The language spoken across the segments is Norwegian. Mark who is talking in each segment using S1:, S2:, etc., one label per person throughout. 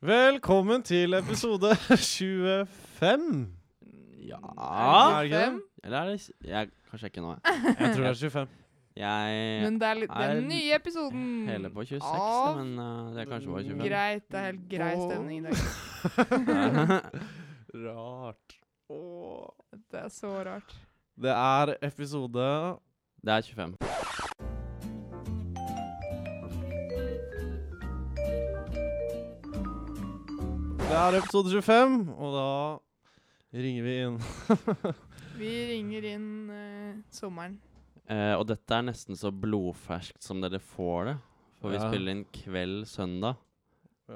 S1: Velkommen til episode 25.
S2: Ja Ah.
S1: Er det ikke det?
S2: Eller er det s- jeg, Kanskje ikke nå, jeg.
S1: Jeg tror det er 25.
S2: Jeg
S3: Men det er litt
S2: Er-
S3: den nye episoden.
S2: heller på 26,
S3: Av-
S2: da, men eh, det er kanskje bare 25.
S3: Greit, det er helt grei stemning i dag.
S1: Rart. Åh.
S3: Det er så rart.
S1: Det er episode
S2: det er 25.
S1: Det er episode 25, og da ringer vi inn.
S3: Vi ringer inn eh, sommeren.
S2: Eh, og dette er nesten så blodferskt som dere får det. For vi
S1: Ja.
S2: spiller inn kveld søndag.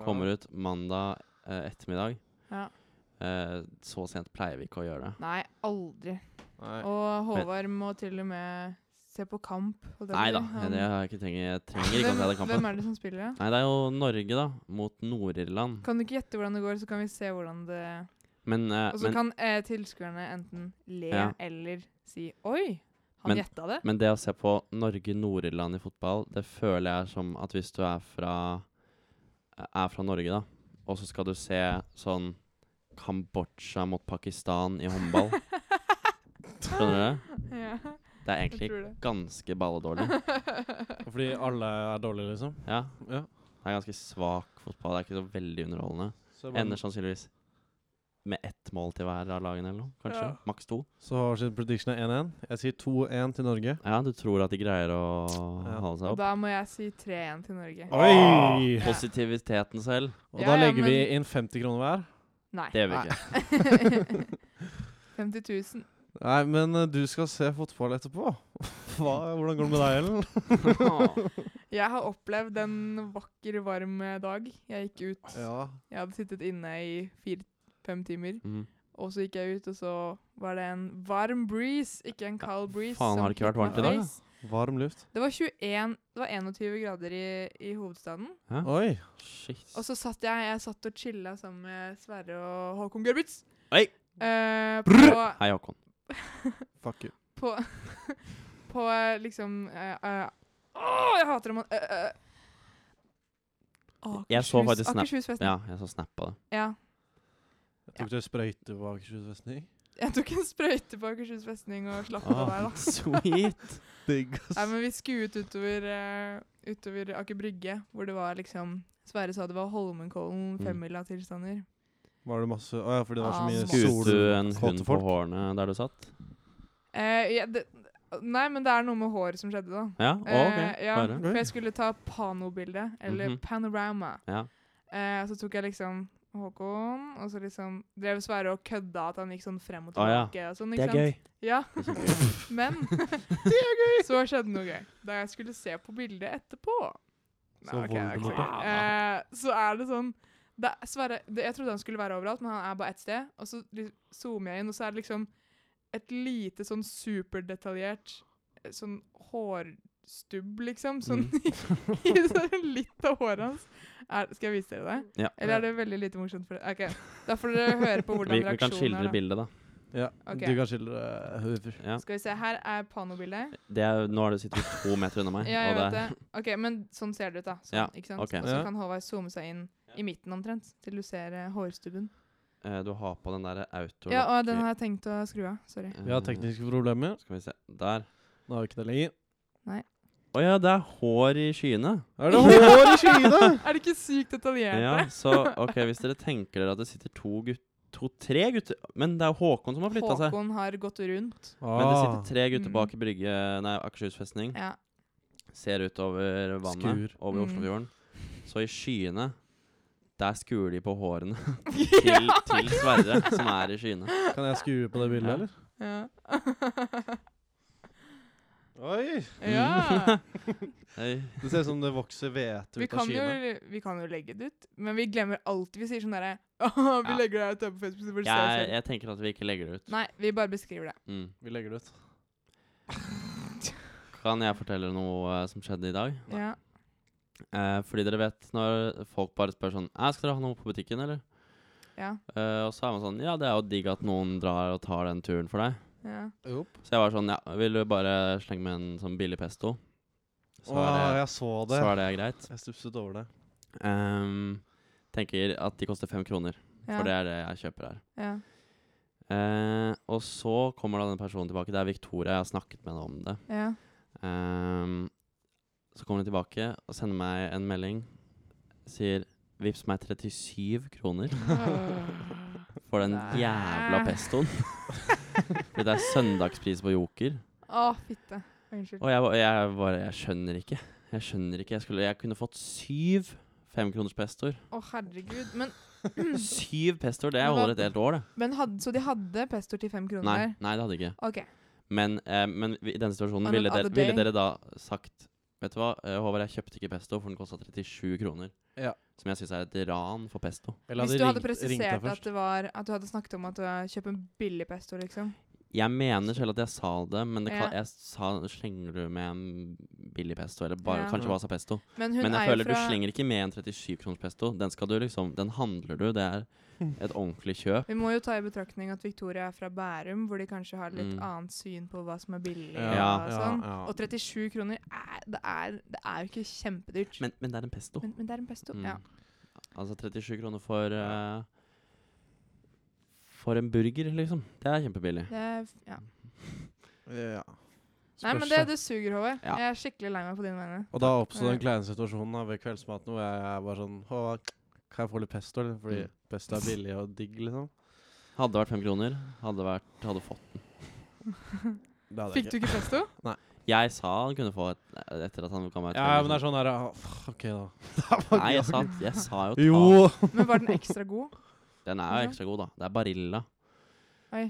S2: Kommer ut mandag eh, ettermiddag.
S3: Ja.
S2: Eh, så sent pleier vi ikke å gjøre det.
S3: Nei, aldri.
S1: Nei.
S3: Og Håvard må til og med se på kamp. holdt jeg på å
S2: Nei
S3: si.
S2: da,
S3: Han-
S2: det har jeg ikke trenger, jeg trenger ikke å se den
S3: Hvem, hvem
S2: kampen.
S3: er det som spiller, da?
S2: Nei, det er jo Norge, da, mot Nord-Irland.
S3: Kan du ikke gjette hvordan det går, så kan vi se hvordan det
S2: Men, eh,
S3: Og så
S2: men,
S3: kan eh, tilskuerne enten le
S2: Ja.
S3: eller si 'oi,
S2: Men-
S3: han gjetta det'.
S2: men det å se på Norge-Nord-Irland i fotball, det føler jeg er som at hvis du er fra Er fra Norge, da, og så skal du se sånn Kambodsja mot Pakistan i håndball. Skjønner du? det?
S3: Ja,
S2: Det er
S3: jeg
S2: egentlig
S3: tror det.
S2: ganske balledårlig.
S1: Fordi alle er dårlige, liksom?
S2: Ja,
S1: Ja.
S2: det er ganske svak fotball. Det er ikke så veldig underholdende.
S1: Så, man-
S2: Ender sånn. sannsynligvis med ett mål til hver av lagene eller noe, kanskje.
S3: Ja.
S2: Maks to.
S1: så har sin prediction er 1-1. Jeg sier 2-1 til Norge.
S2: Ja, du tror at de greier å
S1: Ja.
S2: holde seg
S3: Og
S2: opp.
S3: da må jeg si 3-1 til Norge.
S1: Oi!
S3: Ja.
S2: Positiviteten selv,
S1: Og
S3: Ja,
S1: da
S3: ja,
S1: legger vi
S3: men-
S1: inn 50 kroner hver.
S3: Nei.
S2: det gjør vi ikke.
S3: 50 000.
S1: Nei, men eh, du skal se fotball etterpå. Hva, hvordan går det med deg, Ellen?
S3: Jeg har opplevd en vakker, varm dag. Jeg gikk ut.
S1: Ja.
S3: Jeg hadde sittet inne i fire-fem timer.
S2: Mm.
S3: Og så gikk jeg ut, og så var det en varm breeze, ikke en kald breeze.
S2: faen,
S3: som
S2: har det ikke vært
S3: hit my
S2: varmt i dag, da?
S3: face.
S1: Varm luft.
S3: Det var 21, det var 21 grader i, i hovedstaden.
S1: Oi.
S2: Shit.
S3: Og så satt jeg jeg satt og chilla sammen med Sverre og Håkon Gørmitz.
S2: Oi.
S3: Eh, på,
S2: Hei, Håkon.
S1: Fuck you.
S3: på, på eh, liksom eh, eh, Å, jeg hater om han eh, eh. Akershus,
S2: Jeg så faktisk Snap.
S3: Akershusfesten.
S2: Ja, jeg så snap på det.
S3: Ja.
S1: Jeg tok dere sprøyte på Akershus festning?
S3: Jeg tok en sprøyte på Akershus festning og slapp av der, da.
S2: sweet.
S1: Digg,
S3: Nei, men vi skulle ut utover, eh, utover Aker Brygge, hvor det var liksom Sverre sa det var Holmenkollen,
S2: Mm.
S3: femmila-tilstander.
S1: Var det masse Å ja, fordi det var så
S3: Ah,
S1: mye
S3: masse.
S2: Skjøt du en
S1: solkåte
S2: hund på
S1: folk.
S2: hårene der du satt?
S3: Eh, ja, det, nei, men det er noe med håret som skjedde, da.
S2: Ja, Å, ok.
S3: Eh, ja,
S2: Bare.
S3: for jeg skulle ta panobilde, eller
S2: Mhm.
S3: panorama.
S2: Ja.
S3: Eh, så tok jeg liksom Håkon, og så liksom drev Sverre og kødda at han gikk sånn frem og
S2: Å, ja.
S3: tilbake. og sånn, ikke sant? Ja,
S2: Det er kjempegøy.
S3: Men så skjedde noe gøy. Da jeg skulle se på bildet etterpå,
S1: Så
S3: Nei, ok, det er ikke så,
S1: Voldemort.
S3: gøy. eh, så er det sånn det, er- Sverre, det, Jeg trodde han skulle være overalt, men han er bare ett sted. Og så li- zoomer jeg inn, og så er det liksom et lite sånn superdetaljert eh, sånn hårstubb, liksom. Sånn
S2: Mm.
S3: i, i sånn litt av håret hans. Er, skal jeg vise dere det?
S2: Ja.
S3: Eller er det veldig lite morsomt for dere? Ok, Da får dere høre på
S2: Vi,
S3: hvordan
S2: vi kan
S3: reaksjonen
S2: skildre
S3: er.
S2: bildet, da.
S1: Ja,
S3: Ok.
S1: du kan skildre uh,
S2: Ja.
S3: Da. Skal vi se, her er panobildet.
S2: Det er, nå har du sittet to meter unna meg.
S3: Ja, jeg
S2: og
S3: vet
S2: det
S3: det.
S2: er-
S3: Ok, men sånn ser det ut, da. Sånn,
S2: Ja,
S3: ikke sant?
S2: ok.
S3: Og så
S1: Ja.
S3: kan Håvard zoome seg inn i midten omtrent, til du ser eh, hårstubben.
S2: eh, du har på den derre autolock
S3: Ja, og den har jeg tenkt å skru av. Sorry.
S2: eh,
S1: Vi har tekniske problemer.
S2: Skal vi se. Der.
S1: Nå har vi ikke det lenger.
S2: Å ja, det er hår i skyene.
S1: Er det hår i skyene?
S3: Er det ikke sykt detaljert?
S2: Ja, så ok, hvis dere tenker dere at det sitter to gutter To-tre gutter Men det er Håkon som har flytta seg.
S3: Håkon har gått rundt.
S1: Ah.
S2: Men det sitter tre gutter
S3: Mm.
S2: bak i brygge Nei, Akershus festning.
S3: Ja.
S2: Ser ut over vannet,
S1: Skur.
S2: over
S3: Mm.
S2: Oslofjorden. Så i skyene Der skur de på hårene
S3: ja.
S2: til, til Sverre, som er i skyene.
S1: Kan jeg skue på det bildet,
S2: Ja.
S1: eller? Oi!
S3: ja.
S2: Mm. Hei.
S1: Det ser ut som det vokser hvete
S3: Vi,
S1: ut av
S3: kan jo,
S1: skyene.
S3: vi kan jo legge det ut, men vi glemmer alltid. Vi sier sånn derre «Åh, Vi
S2: Ja.
S3: legger det ut her på Facebook. så får du se
S2: Jeg,
S3: selv».
S2: jeg tenker at vi ikke legger det ut.
S3: Nei, vi bare beskriver det.
S2: Mm.
S1: Vi legger det ut.
S2: Kan jeg fortelle noe eh, som skjedde i dag?
S3: Ja.
S2: Eh, fordi dere vet når folk bare spør sånn «Æ, 'Skal dere ha noe på butikken, eller?'
S3: Ja.
S2: Eh, og så er man sånn Ja, det er jo digg at noen drar og tar den turen for deg.
S3: ja.
S1: Opp.
S2: Så jeg var sånn, ja, vil du bare slenge med en sånn billig pesto? Så
S1: Å,
S2: er det,
S1: jeg så
S2: så
S1: det.
S2: er det greit.
S1: Jeg stupset over det.
S2: Ehm, Tenker at de koster fem kroner,
S3: Ja,
S2: for det er det jeg kjøper her.
S3: ja.
S2: Eh, og så kommer da denne personen tilbake. Det er Victoria, jeg har snakket med henne om det.
S3: ja.
S2: Ehm, så kommer hun tilbake og sender meg en melding. Sier 'vips meg 37 kroner for den
S3: Nei.
S2: jævla pestoen'. Fordi det er søndagspris på Joker.
S3: Å, fitte. Unnskyld.
S2: Og jeg, var- jeg bare Jeg skjønner ikke. Jeg skjønner ikke. Jeg, skulle, jeg kunne fått syv femkroners pestoer.
S3: Å, herregud. Men,
S2: Syv pestoer, det
S3: Men hva-
S2: holder et helt år, det.
S3: men hadde, så de hadde pestoer til fem kroner?
S2: Nei, nei, det hadde jeg ikke.
S3: OK.
S2: Men, eh, men vi- i denne situasjonen,
S3: On
S2: ville
S3: another
S2: dere, ville
S3: day.
S2: dere da sagt Vet du hva, eh, Håvard, jeg kjøpte ikke pesto, for den kosta 37 kroner.
S1: Ja.
S2: Som jeg syns er et ran for pesto.
S1: Eller
S3: Hvis du hadde
S1: ringt- ringt deg
S3: presisert
S1: først.
S3: at det var At du hadde snakket om at du kjøper en billig pesto, liksom.
S2: Jeg mener selv at jeg sa det, men det kan,
S3: Ja.
S2: jeg sa slenger du med en billig pesto, eller bare,
S3: Ja.
S2: kanskje
S1: Ja.
S2: bare sa pesto.
S3: Men hun
S2: men jeg
S3: er jo
S2: føler
S3: fra
S2: du slenger ikke med en 37 kroners pesto. Den skal du liksom, den handler du. Det er et ordentlig kjøp.
S3: Vi må jo ta i betraktning at Victoria er fra Bærum, hvor de kanskje har litt
S2: Mm.
S3: annet syn på hva som er billig.
S2: Ja.
S3: og
S1: Ja,
S3: sånn.
S1: ja.
S3: Og 37 kroner er, det, er, det er jo ikke kjempedyrt. Men,
S2: Men, men det er en pesto.
S3: men, det er en pesto.
S2: Mm.
S3: Ja.
S2: Altså 37 kroner for eh, For en burger, liksom. Det er kjempebillig.
S3: Det, er f- ja.
S1: Ja.
S3: Nei, men
S1: Spørs,
S3: det,
S1: da.
S3: det suger, Håvard.
S2: Ja.
S3: Jeg er skikkelig lei meg på dine vegne.
S1: Og da oppstod den kleine situasjonen da, ved kveldsmaten hvor jeg er bare sånn «Hå, Kan jeg få litt pesto? eller?» Fordi
S2: Mm.
S1: pesto er billig og digg, liksom.
S2: Hadde det vært fem kroner, hadde, vært, hadde fått den.
S1: Det hadde jeg
S3: Fikk du ikke pesto?
S2: Jeg sa han kunne få et, etter at han kom meg
S1: Ja, men det er sånn der ah, f- OK, da. Det var
S2: Nei,
S1: ikke-
S2: jeg sa, jeg sa jo ta.
S1: Jo!
S3: Men var den ekstra god?
S2: Den er jo ekstra god, da. Det er Barilla.
S3: Oi.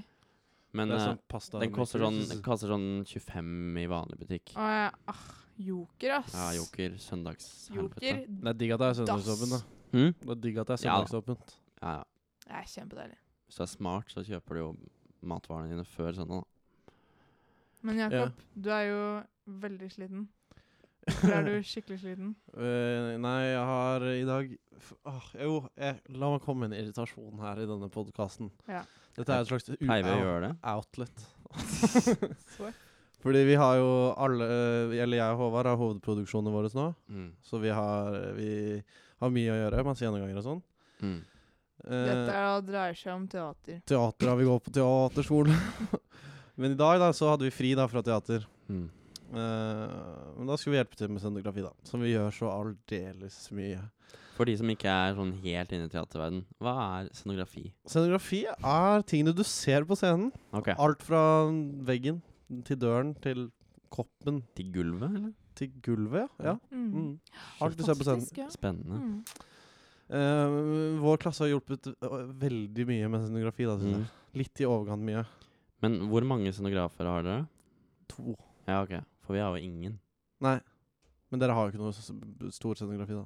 S2: Men
S1: det er
S2: eh,
S1: sånn pasta
S2: den koster sånn,
S1: mixers.
S2: den koster sånn 25 i vanlig butikk.
S3: Å, ja. ah, joker, ass.
S2: Ja, Joker. Søndags.
S3: Joker.
S1: Det er digg at det er søndagsåpent, da.
S3: Dass.
S2: Hm?
S1: Det er digg at det er
S2: Ja da.
S1: søndagsåpent.
S2: Ja, ja.
S3: Det er kjempedeilig.
S2: Hvis du er smart, så kjøper du jo matvarene dine før søndag. da.
S3: Men Jakob, du er jo veldig sliten. Hvorfor er du skikkelig sliten?
S1: Eh, nei, jeg har i dag f ah, Jo, jeg, la meg komme med en irritasjon her i denne podkasten.
S3: Ja.
S1: Dette er et slags
S2: Pleier vi å
S1: u-
S2: gjøre det?
S1: outlet.
S3: Så.
S1: Fordi vi har jo alle eh, Eller jeg og Håvard har hovedproduksjonene våre nå.
S2: Mm.
S1: Så vi har, vi har mye å gjøre. Masse gjennomganger og sånn.
S2: Mm.
S1: Eh,
S3: Dette er- dreier seg om teater.
S1: teater har vi gått på teaterskole. Men i dag da, så hadde vi fri da fra teater.
S2: Mm.
S1: Eh, men da skulle vi hjelpe til med scenografi, da. Som vi gjør så aldeles mye.
S2: For de som ikke er sånn helt inne i teaterverden, hva er scenografi?
S1: Scenografi er tingene du ser på scenen.
S2: Ok,
S1: Alt fra veggen til døren til koppen
S2: Til gulvet, eller?
S1: til gulvet, ja.
S3: Mm.
S1: ja. Mm. Alt du ser på scenen.
S3: Fantastisk, ja.
S2: Spennende.
S3: Mm.
S1: Eh, vår klasse har hjulpet eh, veldig mye med scenografi. da, synes
S2: Mm.
S1: jeg. Litt i overkant mye.
S2: Men hvor mange scenografer har dere?
S1: To.
S2: Ja, ok. For vi har jo ingen.
S1: Nei. Men dere har jo ikke noe s- b- stor scenografi, da.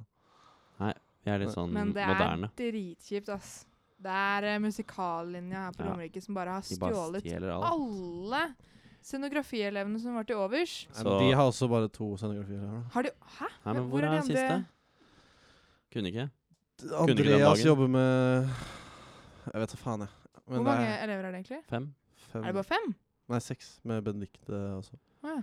S2: Vi er litt sånn
S3: Men det
S2: moderne.
S3: er dritkjipt, ass. Det er eh, musikallinja her på
S2: Ja.
S3: Romerike som bare har
S2: Vi bare
S3: stjålet
S2: stjeler alt.
S3: alle scenografieelevene som var til overs.
S1: Nei,
S2: Så-
S1: men De har også bare to scenografier. her da.
S3: Har de Hæ?
S2: Nei, men
S3: Men hvor
S2: hvor
S3: er
S2: er den
S3: de andre-
S2: siste? Kunne ikke. ikke den
S1: Andreas
S2: dagen.
S1: jobber med Jeg vet da faen, jeg. Men
S3: Hvor
S1: det er
S3: mange elever er det egentlig?
S2: Fem.
S1: fem-
S3: Er det bare fem?
S1: Nei, seks med Benedicte også.
S3: Å, ja.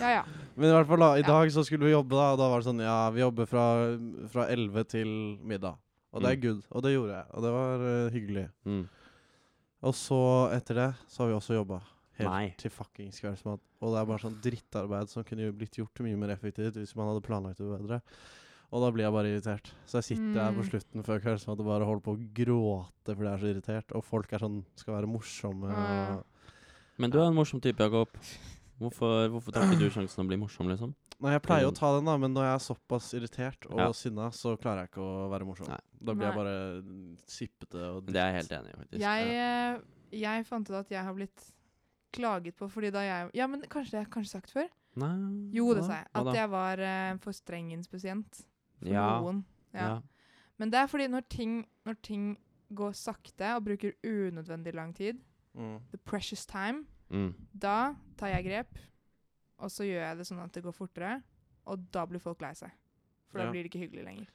S3: ja ja.
S1: Men i hvert fall da, i
S3: Ja.
S1: dag så skulle vi jobbe, da, og da var det sånn Ja, vi jobber fra, fra 11 til middag. Og det er
S2: Mm.
S1: good. Og det gjorde jeg. Og det var eh, hyggelig.
S2: Mm.
S1: Og så, etter det, så har vi også jobba helt
S2: Nei.
S1: til fuckings kveldsmat. Og det er bare sånn drittarbeid som kunne jo blitt gjort mye mer effektivt hvis man hadde planlagt det bedre. Og da blir jeg bare irritert. Så jeg sitter her på
S3: Mm.
S1: slutten før kveldsmat og bare holder på å gråte fordi jeg er så irritert. Og folk er sånn skal være morsomme
S3: Ja, ja.
S1: og
S2: Men du er en morsom type, Jakob. Hvorfor, hvorfor tar ikke du sjansen å bli morsom, liksom?
S1: Nei, jeg pleier jo å ta den, da, men når jeg er såpass irritert og
S2: Ja.
S1: sinna, så klarer jeg ikke å være morsom.
S2: Nei.
S1: Da blir jeg
S3: Nei.
S1: bare sippete og
S2: Det er jeg helt enig i, faktisk.
S3: Jeg,
S2: Ja.
S3: eh, jeg fant ut at jeg har blitt klaget på fordi da jeg Ja, men kanskje det har jeg kanskje sagt før?
S2: Nei,
S3: Jo,
S2: hva
S3: det
S2: da?
S3: sa jeg.
S2: Hva
S3: At
S2: da?
S3: jeg var eh, for streng inspisient for
S2: Ja,
S3: noen. Ja.
S2: ja.
S3: Men det er fordi når ting, når ting går sakte og bruker unødvendig lang tid,
S1: Mm.
S3: the precious time,
S2: Mm.
S3: da tar jeg grep, og så gjør jeg det sånn at det går fortere, og da blir folk lei seg. For da
S1: Ja.
S3: blir det ikke hyggelig lenger.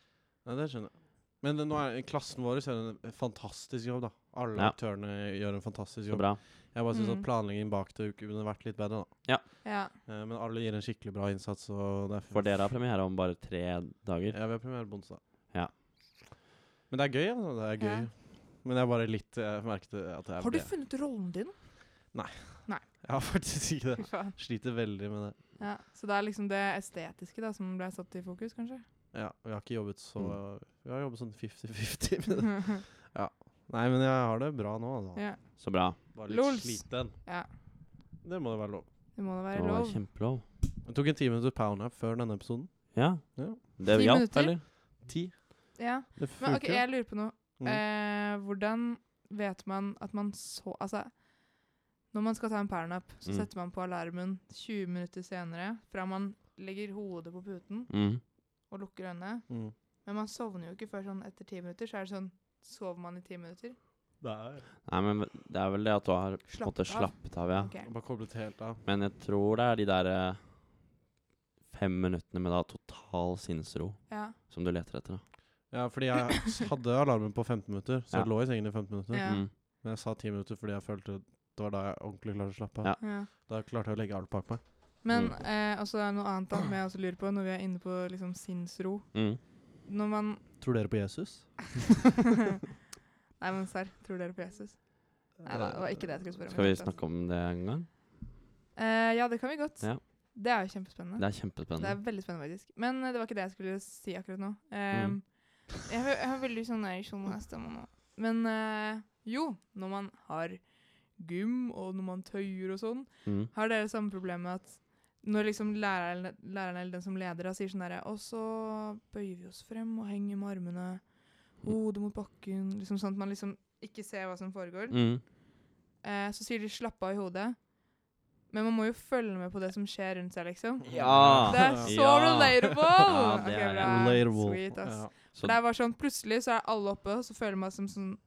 S1: Nei, det skjønner jeg. Men eh, nå er klassen vår gjør en fantastisk jobb, da. Alle
S2: Ja.
S1: aktørene gjør en fantastisk
S2: Så
S1: jobb.
S2: bra.
S1: Jeg bare syns
S3: Mm.
S1: at planleggingen bak det kunne vært litt bedre, da.
S3: Ja.
S1: Eh, Men alle gir en skikkelig bra innsats, og det er
S2: For dere har premiere om bare tre dager.
S1: Ja, vi har premiere på onsdag.
S2: Ja.
S1: Men det er gøy. Altså. Det er gøy.
S3: Ja.
S1: Men jeg bare litt Jeg merket at jeg
S3: Har du
S1: ble-
S3: funnet rollen din?
S1: Jeg har faktisk ikke
S3: Fy
S1: det.
S3: faen.
S1: Sliter veldig med det.
S3: Ja, så det er liksom det estetiske da, som ble satt i fokus, kanskje?
S1: Ja, vi har ikke jobbet så Vi har jobbet sånn 50-50 med det. Nei, men jeg har det bra nå, altså.
S3: ja,
S2: Så bra.
S1: Bare litt
S3: Lols.
S1: sliten.
S3: Ja.
S1: Det må jo være lov.
S3: det må da
S2: Det
S3: være
S2: var
S3: lov.
S2: kjempelov.
S1: Det tok en time til powernap før denne episoden.
S2: Ja.
S1: Ja.
S2: Det
S3: Ti
S2: hjalp,
S3: minutter?
S2: eller?
S1: Ti.
S3: Ja.
S1: Det
S3: Men
S1: funker.
S3: ok, jeg lurer på noe.
S1: Mm.
S3: Eh, hvordan vet man at man så Altså, når man skal ta en powernap, så
S2: Mm.
S3: setter man på alarmen 20 minutter senere fra man legger hodet på puten
S2: Mm.
S3: og lukker øynene.
S1: mm.
S3: Men man sovner jo ikke før sånn etter 10 minutter. Så er det sånn Sover man i 10 minutter?
S2: Nei, men det er vel det at du har på en måte
S3: Slappet av?
S2: slappet av, ja.
S3: Ok.
S1: Bare koblet helt av.
S2: Men jeg tror det er de der eh, fem minuttene med da total sinnsro
S3: Ja.
S2: som du leter etter. da.
S1: Ja, fordi jeg s- hadde alarmen på 15 minutter, så
S2: Ja.
S1: jeg lå i sengen i 15 minutter.
S3: Ja.
S2: Mm.
S1: Men jeg sa 10 minutter fordi jeg følte det var da jeg ordentlig klarte å slappe av.
S2: Ja.
S3: ja.
S1: Da klarte jeg å legge alt bak meg.
S3: Men
S2: Mm.
S3: eh, også er det noe annet da, som jeg også lurer på, når vi er inne på liksom sinnsro.
S2: Mm.
S3: Når man
S1: Tror dere på Jesus?
S3: Nei, men serr. Tror dere på Jesus? Nei, da, det var ikke det jeg skulle spørre om.
S2: Skal vi snakke om det en gang?
S3: Eh, ja, det kan vi godt.
S2: Ja.
S3: Det er jo kjempespennende.
S2: Det er
S3: Det
S2: kjempespennende.
S3: er veldig spennende, faktisk. Men eh, det var ikke det jeg skulle si akkurat nå. Eh,
S2: Mm.
S3: jeg, har- jeg har veldig sånn ereksjon i stemmen nå. Men eh, jo, når man har gym, og når man tøyer og sånn,
S2: Mm.
S3: har dere samme problem med at når liksom læreren, læreren eller den som leder da, sier sånn derre Og så bøyer vi oss frem og henger med armene, hodet mot bakken liksom Sånn at man liksom ikke ser hva som foregår.
S2: Mm.
S3: Eh, så sier de 'slapp av i hodet', men man må jo følge med på det som skjer rundt seg, liksom.
S2: Ja.
S3: Det er så
S2: Ja.
S3: relatable!
S2: Ja, det
S3: Ok,
S2: er det.
S3: bra.
S1: Relatable.
S3: Sweet, ass.
S1: Ja.
S2: Så
S3: Det er bare sånn, plutselig så er alle oppe, og så føler jeg meg som sånn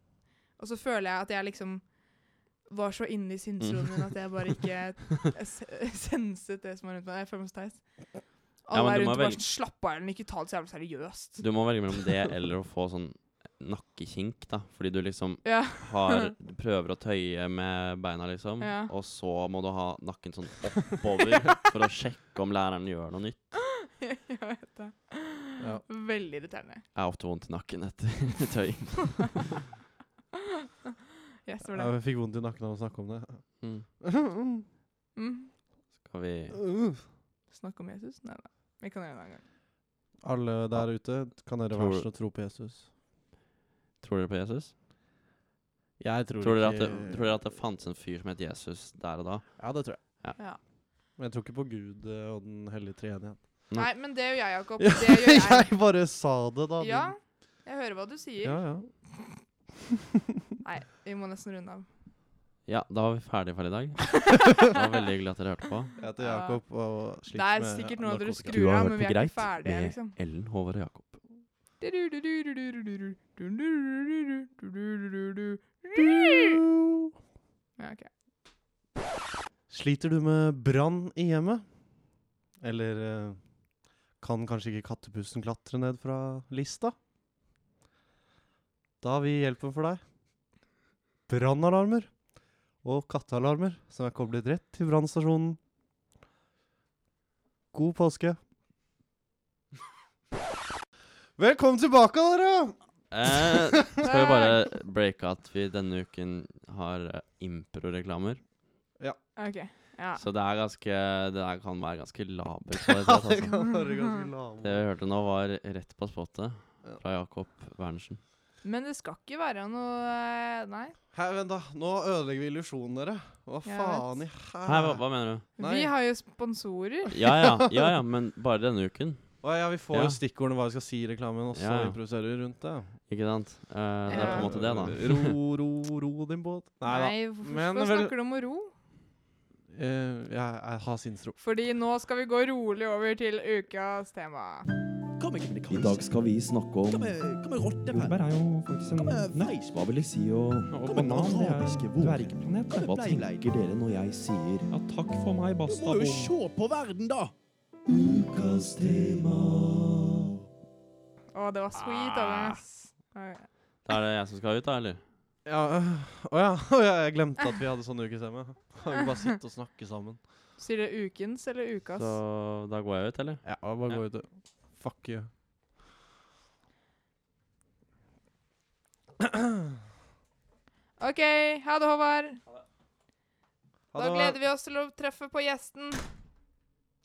S3: Og så føler jeg at jeg liksom var så inne i sinnsroen min at jeg bare ikke s- senset det som var rundt meg. Jeg føler meg så teit.
S2: Ja,
S3: Alle
S2: men
S3: er
S2: du må
S3: rundt og bare
S2: velge-
S3: sånn Slapp av, Ellen. Ikke ta det så jævlig seriøst.
S2: du må velge mellom det eller å få sånn nakkekink, da. Fordi du liksom
S3: Ja.
S2: har Du prøver å tøye med beina, liksom.
S3: Ja.
S2: Og så må du ha nakken sånn oppover for å sjekke om læreren gjør noe nytt.
S3: jeg vet det.
S1: Ja.
S3: Veldig irriterende.
S2: Jeg har ofte vondt i nakken etter tøying.
S3: Yes, det var det.
S1: Jeg fikk vondt i nakken av å snakke om det.
S2: Mm.
S3: Mm.
S2: Skal vi
S3: Snakk om Jesus? Nei da. Vi kan gjøre det en annen gang.
S1: Alle der ute, kan dere
S2: Tror-
S1: være så tro på Jesus?
S2: Tror dere på Jesus?
S1: Jeg tror,
S2: Tror dere, at
S1: ikke
S2: det, tror dere at det fantes en fyr som het Jesus der og da?
S1: Ja, det tror jeg.
S3: Ja.
S1: Men jeg tror ikke på Gud eh, og Den hellige treenighet.
S2: Nei.
S3: Nei, men det gjør jeg, Jakob.
S1: Ja,
S3: Det gjør jeg.
S1: jeg bare sa det, da.
S3: Ja,
S1: din-
S3: jeg hører hva du sier.
S1: ja, ja.
S3: Nei, vi må nesten runde av.
S2: Ja, da var vi ferdige for i dag. Det var veldig hyggelig at dere hørte på.
S1: Jeg heter
S3: Ja.
S1: Jakob og
S3: Det
S1: sliter
S3: er
S1: med
S3: sikkert noe dere
S1: narkotika.
S3: skrur
S2: Du har
S3: av,
S2: hørt
S3: men vi
S2: på
S3: er
S2: Greit
S3: ikke ferdige,
S2: med-
S3: liksom.
S2: Ellen, Håvard og Jakob.
S3: Ja, ok.
S1: Sliter du med brann i hjemmet? Eller eh, kan kanskje ikke kattepussen klatre ned fra lista? Da har vi hjelpen for deg. Brannalarmer og kattealarmer som er koblet rett til brannstasjonen. God påske. Velkommen tilbake, dere!
S2: Eh, skal vi bare breake at vi denne uken har eh, impro-reklamer?
S3: Ok, ja.
S2: Så det er ganske Det her kan være ganske laber kvalitet,
S1: Det
S2: altså.
S1: kan være ganske lame.
S2: Det vi hørte nå, var rett på spottet
S1: Ja.
S2: fra Jakob Wernersen.
S3: Men det skal ikke være noe eh, Nei.
S1: Hei, vent da. Nå ødelegger vi illusjonen, dere. Hva
S3: Jeg
S1: faen i
S2: Hæ, hva,
S1: hæ...
S2: hva mener du?
S3: Vi
S1: Nei.
S3: har jo sponsorer.
S2: Ja ja, ja ja, men bare denne uken,
S1: Å ja, vi får
S2: Ja.
S1: jo stikkordene hva vi skal si i reklamen, og så
S2: Ja, ja.
S1: improviserer vi rundt det. Eh,
S2: ikke sant? Eh, det er på en måte det, da.
S1: Ro, ro, ro din båt. Nei da.
S3: Nei, hvorfor
S1: Men
S3: hvorfor
S1: vel-
S3: snakker du om å ro?
S1: Eh, jeg, jeg har sinnsro.
S3: Fordi nå skal vi gå rolig over til ukas tema.
S4: I dag skal vi snakke om
S5: Jordbær er jo faktisk en Nei,
S4: Hva vil det si å
S5: og banan det er
S4: Arabiske
S5: jo
S4: våger.
S5: dvergplanet.
S4: Hva tenker dere når jeg sier
S5: Ja, takk for meg, basta bom.
S4: Ukas tema?
S3: Å, det var sweet av deg, ass.
S1: Ah.
S3: Ok.
S2: Da er det jeg som skal ut, da, eller?
S1: Ja, øh, Å ja. å ja, jeg glemte at vi hadde sånn uke sammen. Kan vi bare sitte og snakke sammen?
S3: Sier det ukens eller ukas?
S2: Så da går jeg ut, eller?
S1: Ja, bare gå ut og Fuck you.
S3: OK, ha det, Håvard.
S1: Ha
S3: Da
S1: det bra.
S3: gleder vi oss til å treffe på gjesten.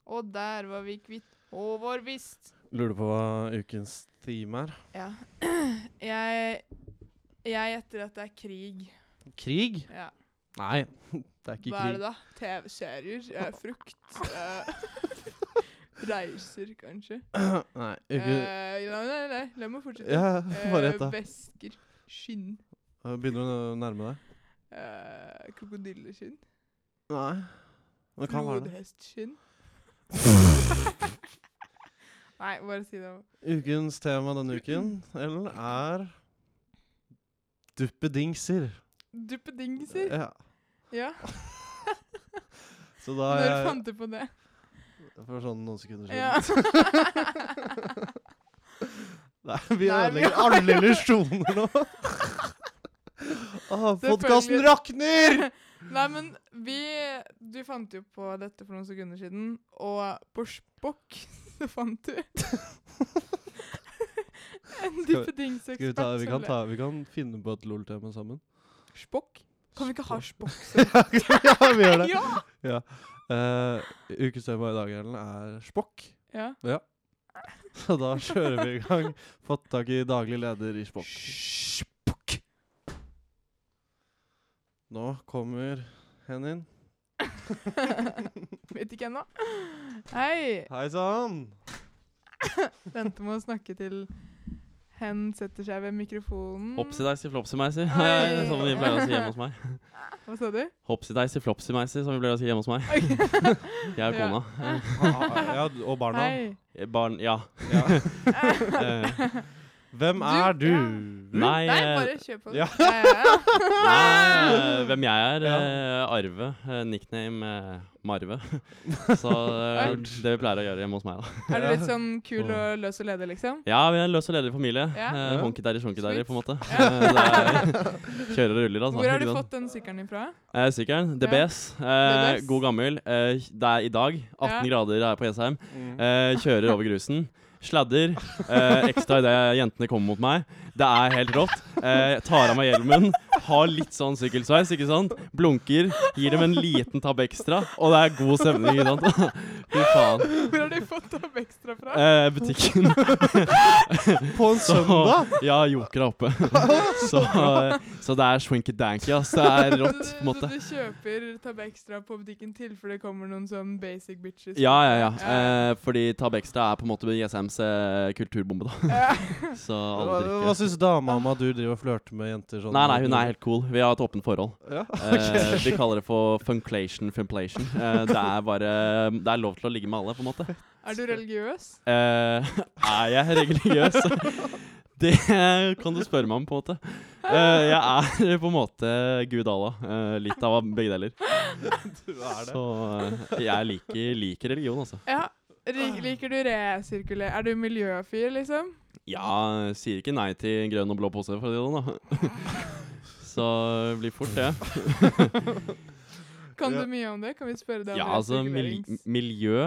S3: Og der var vi kvitt Håvard Vist.
S1: Lurer på hva ukens theme er?
S3: Ja. Jeg Jeg gjetter at det er krig.
S1: Krig?
S3: Ja.
S1: Nei, det er ikke
S3: Hva er det
S1: krig.
S3: da? TV-serier? eh, Frukt? eh, Reiser, kanskje?
S1: Nei,
S3: Eh,
S1: uke...
S3: nei, nei, nei, la meg fortsette.
S1: Ja, bare
S3: Eh,
S1: gjett, da.
S3: Vesker. Skinn.
S1: Begynner du å nærme deg?
S3: eh, Krokodilleskinn.
S1: Nei. Det kan være det.
S3: Flodhestskinn. Nei, bare si det.
S1: Ukens tema denne uken, Ellen, er duppedingser.
S3: Duppedingser.
S1: Ja.
S3: Ja.
S1: Så da er
S3: Når
S1: jeg
S3: fant du på det?
S1: For sånn noen sekunder siden.
S3: Ja.
S1: Nei, vi
S3: Nei, vi
S1: ødelegger
S3: har-
S1: alle illusjoner nå. Ah, Podkasten
S3: Selvfølgelig.
S1: rakner!
S3: Nei, men vi Du fant jo på dette for noen sekunder siden, og på Spokk så fant du En duppedingsekspert.
S1: Skal vi, ta, vi,
S3: som
S1: kan
S3: ble-
S1: ta, vi kan finne på et LOL-tema sammen.
S3: Spokk? Kan vi ikke ha Spokk?
S1: ja, vi gjør det.
S3: Ja!
S1: Uh, ukens tema i dag Ellen, er spokk.
S3: ja.
S1: Så da kjører vi i gang. Fått tak i daglig leder i spokk. Nå kommer Henning.
S3: Vet ikke ennå. Hei.
S1: Hei sann!
S3: Venter med å snakke til hen setter seg ved mikrofonen.
S2: Hopsideisy flopsymeisy,
S3: Oi.
S2: som sånn vi pleier å si hjemme hos meg.
S3: Hva sa du?
S2: Hopsideisy flopsymeisy, som vi pleier å si hjemme hos meg. Jeg og
S3: Ja.
S2: kona. Eh,
S1: Ja, og barna.
S3: Hei.
S2: Barn Ja. Eh,
S1: Hvem
S3: Du-
S1: er du?
S2: Nei,
S3: Nei,
S2: eh,
S3: bare kjør på.
S1: Ja.
S3: Ja, ja.
S2: Nei, eh, hvem jeg er?
S1: Ja.
S2: eh, Arve. eh, Nickname eh, Marve. Så eh, det vi pleier å gjøre hjemme hos meg, da.
S3: Er du litt sånn kul og løs og ledig, liksom?
S2: Ja, vi er en løs og ledig familie.
S3: Ja.
S2: Eh, Honky-derry, shonky-derry, på en måte.
S3: Ja.
S2: Eh, det er- Kjører og ruller, altså.
S3: Hvor har du
S2: Ikke sant?
S3: fått den sykkelen din fra?
S2: Eh, sykkelen.
S3: Ja.
S2: DBS. Eh,
S3: DBS.
S2: god gammel. Eh, det er i dag. 18
S3: Ja.
S2: grader her på Jessheim.
S1: Mm.
S2: Eh, kjører over grusen. Sladder. Eh, ekstra idet jentene kommer mot meg. Det er helt rått. Eh, tar av meg hjelmen. Har litt sånn sykkelsveis, ikke sant? Blunker. Gir dem en liten tabbe ekstra, og det er god stemning, ikke sant? Fy faen.
S3: Hvor har du fått opp ekstra fra?
S2: Eh, butikken
S1: På en søndag?
S2: Ja, Joker er oppe. Så, eh, så det er swinky-danky, ass. Det er rått, på en måte.
S3: Så Altså, du kjøper Tabbe Extra på butikken tilfelle det kommer noen sånn basic bitches?
S2: Ja, ja, ja. Eh, fordi Tab Extra er på en måte JSMs eh, kulturbombe, da. Så alle
S1: Hva, hva
S2: drikker.
S1: syns dama om at du driver og flørter med jenter sånn?
S2: Nei, nei, hun er helt cool. Vi har et åpent forhold.
S1: ja.
S2: Eh, vi kaller det for funklation, funplation. Eh, det er bare Det er lov til å ligge med alle, på en måte.
S3: Er du religiøs?
S2: Eh, er jeg religiøs? Det kan du spørre meg om, på en måte. Eh, jeg er på en måte gud Allah. Eh, litt av begge deler. Så eh, jeg liker, liker religion, altså.
S3: Ja. Rik, liker du resirkuler? Er du miljøfyr, liksom?
S2: Ja, sier ikke nei til grønn og blå pose, for å si det sånn, da. Så det blir fort det.
S3: Kan
S1: Ja.
S3: du mye om det? Kan vi spørre deg om
S2: Ja, altså mil
S3: resirkulerings...
S2: miljø,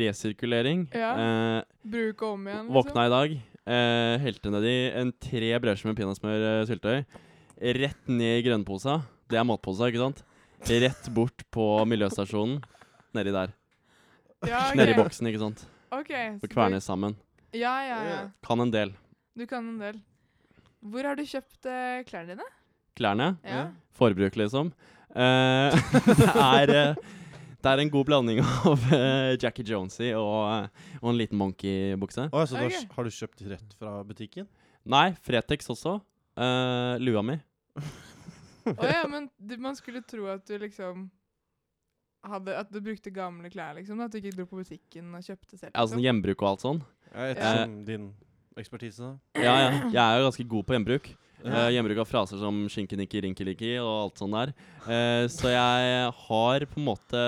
S2: resirkulering.
S3: Ja.
S2: Eh,
S3: Bruk og om igjen, liksom?
S2: våkna i dag, eh, helte nedi en tre brødskiver med peanøttsmør eh, syltetøy. Rett ned i grønnposa. Det er matposa, ikke sant? Rett bort på miljøstasjonen. Nedi der.
S3: Ja, ok.
S2: Nedi boksen, ikke sant.
S3: Ok,
S2: Og
S3: så du-
S2: kvernes sammen.
S3: Ja, ja, ja.
S2: Kan en del.
S3: Du kan en del. Hvor har du kjøpt eh, klærne dine?
S2: Klærne.
S3: Ja.
S2: forbruk, liksom. Eh, det, er, eh, det er en god blanding av eh, Jackie Jonesy og, eh, og en liten monkey-bukse.
S1: Å, så du har,
S3: Ok.
S1: har du kjøpt rett fra butikken?
S2: Nei, Fretex også. Eh, lua mi.
S3: Å ja, men du, man skulle tro at du liksom hadde, At du brukte gamle klær, liksom. At du ikke dro på butikken og kjøpte selv.
S2: Altså
S3: Liksom.
S2: gjenbruk og alt sånn.
S1: Ja,
S2: Ja.
S1: Ettersom din ekspertise, da.
S2: Ja, ja. Jeg er jo ganske god på gjenbruk.
S1: Ja.
S2: Eh, gjenbruk av fraser som skinkenikki, rinkeliki og alt sånt der. Eh, så jeg har på en måte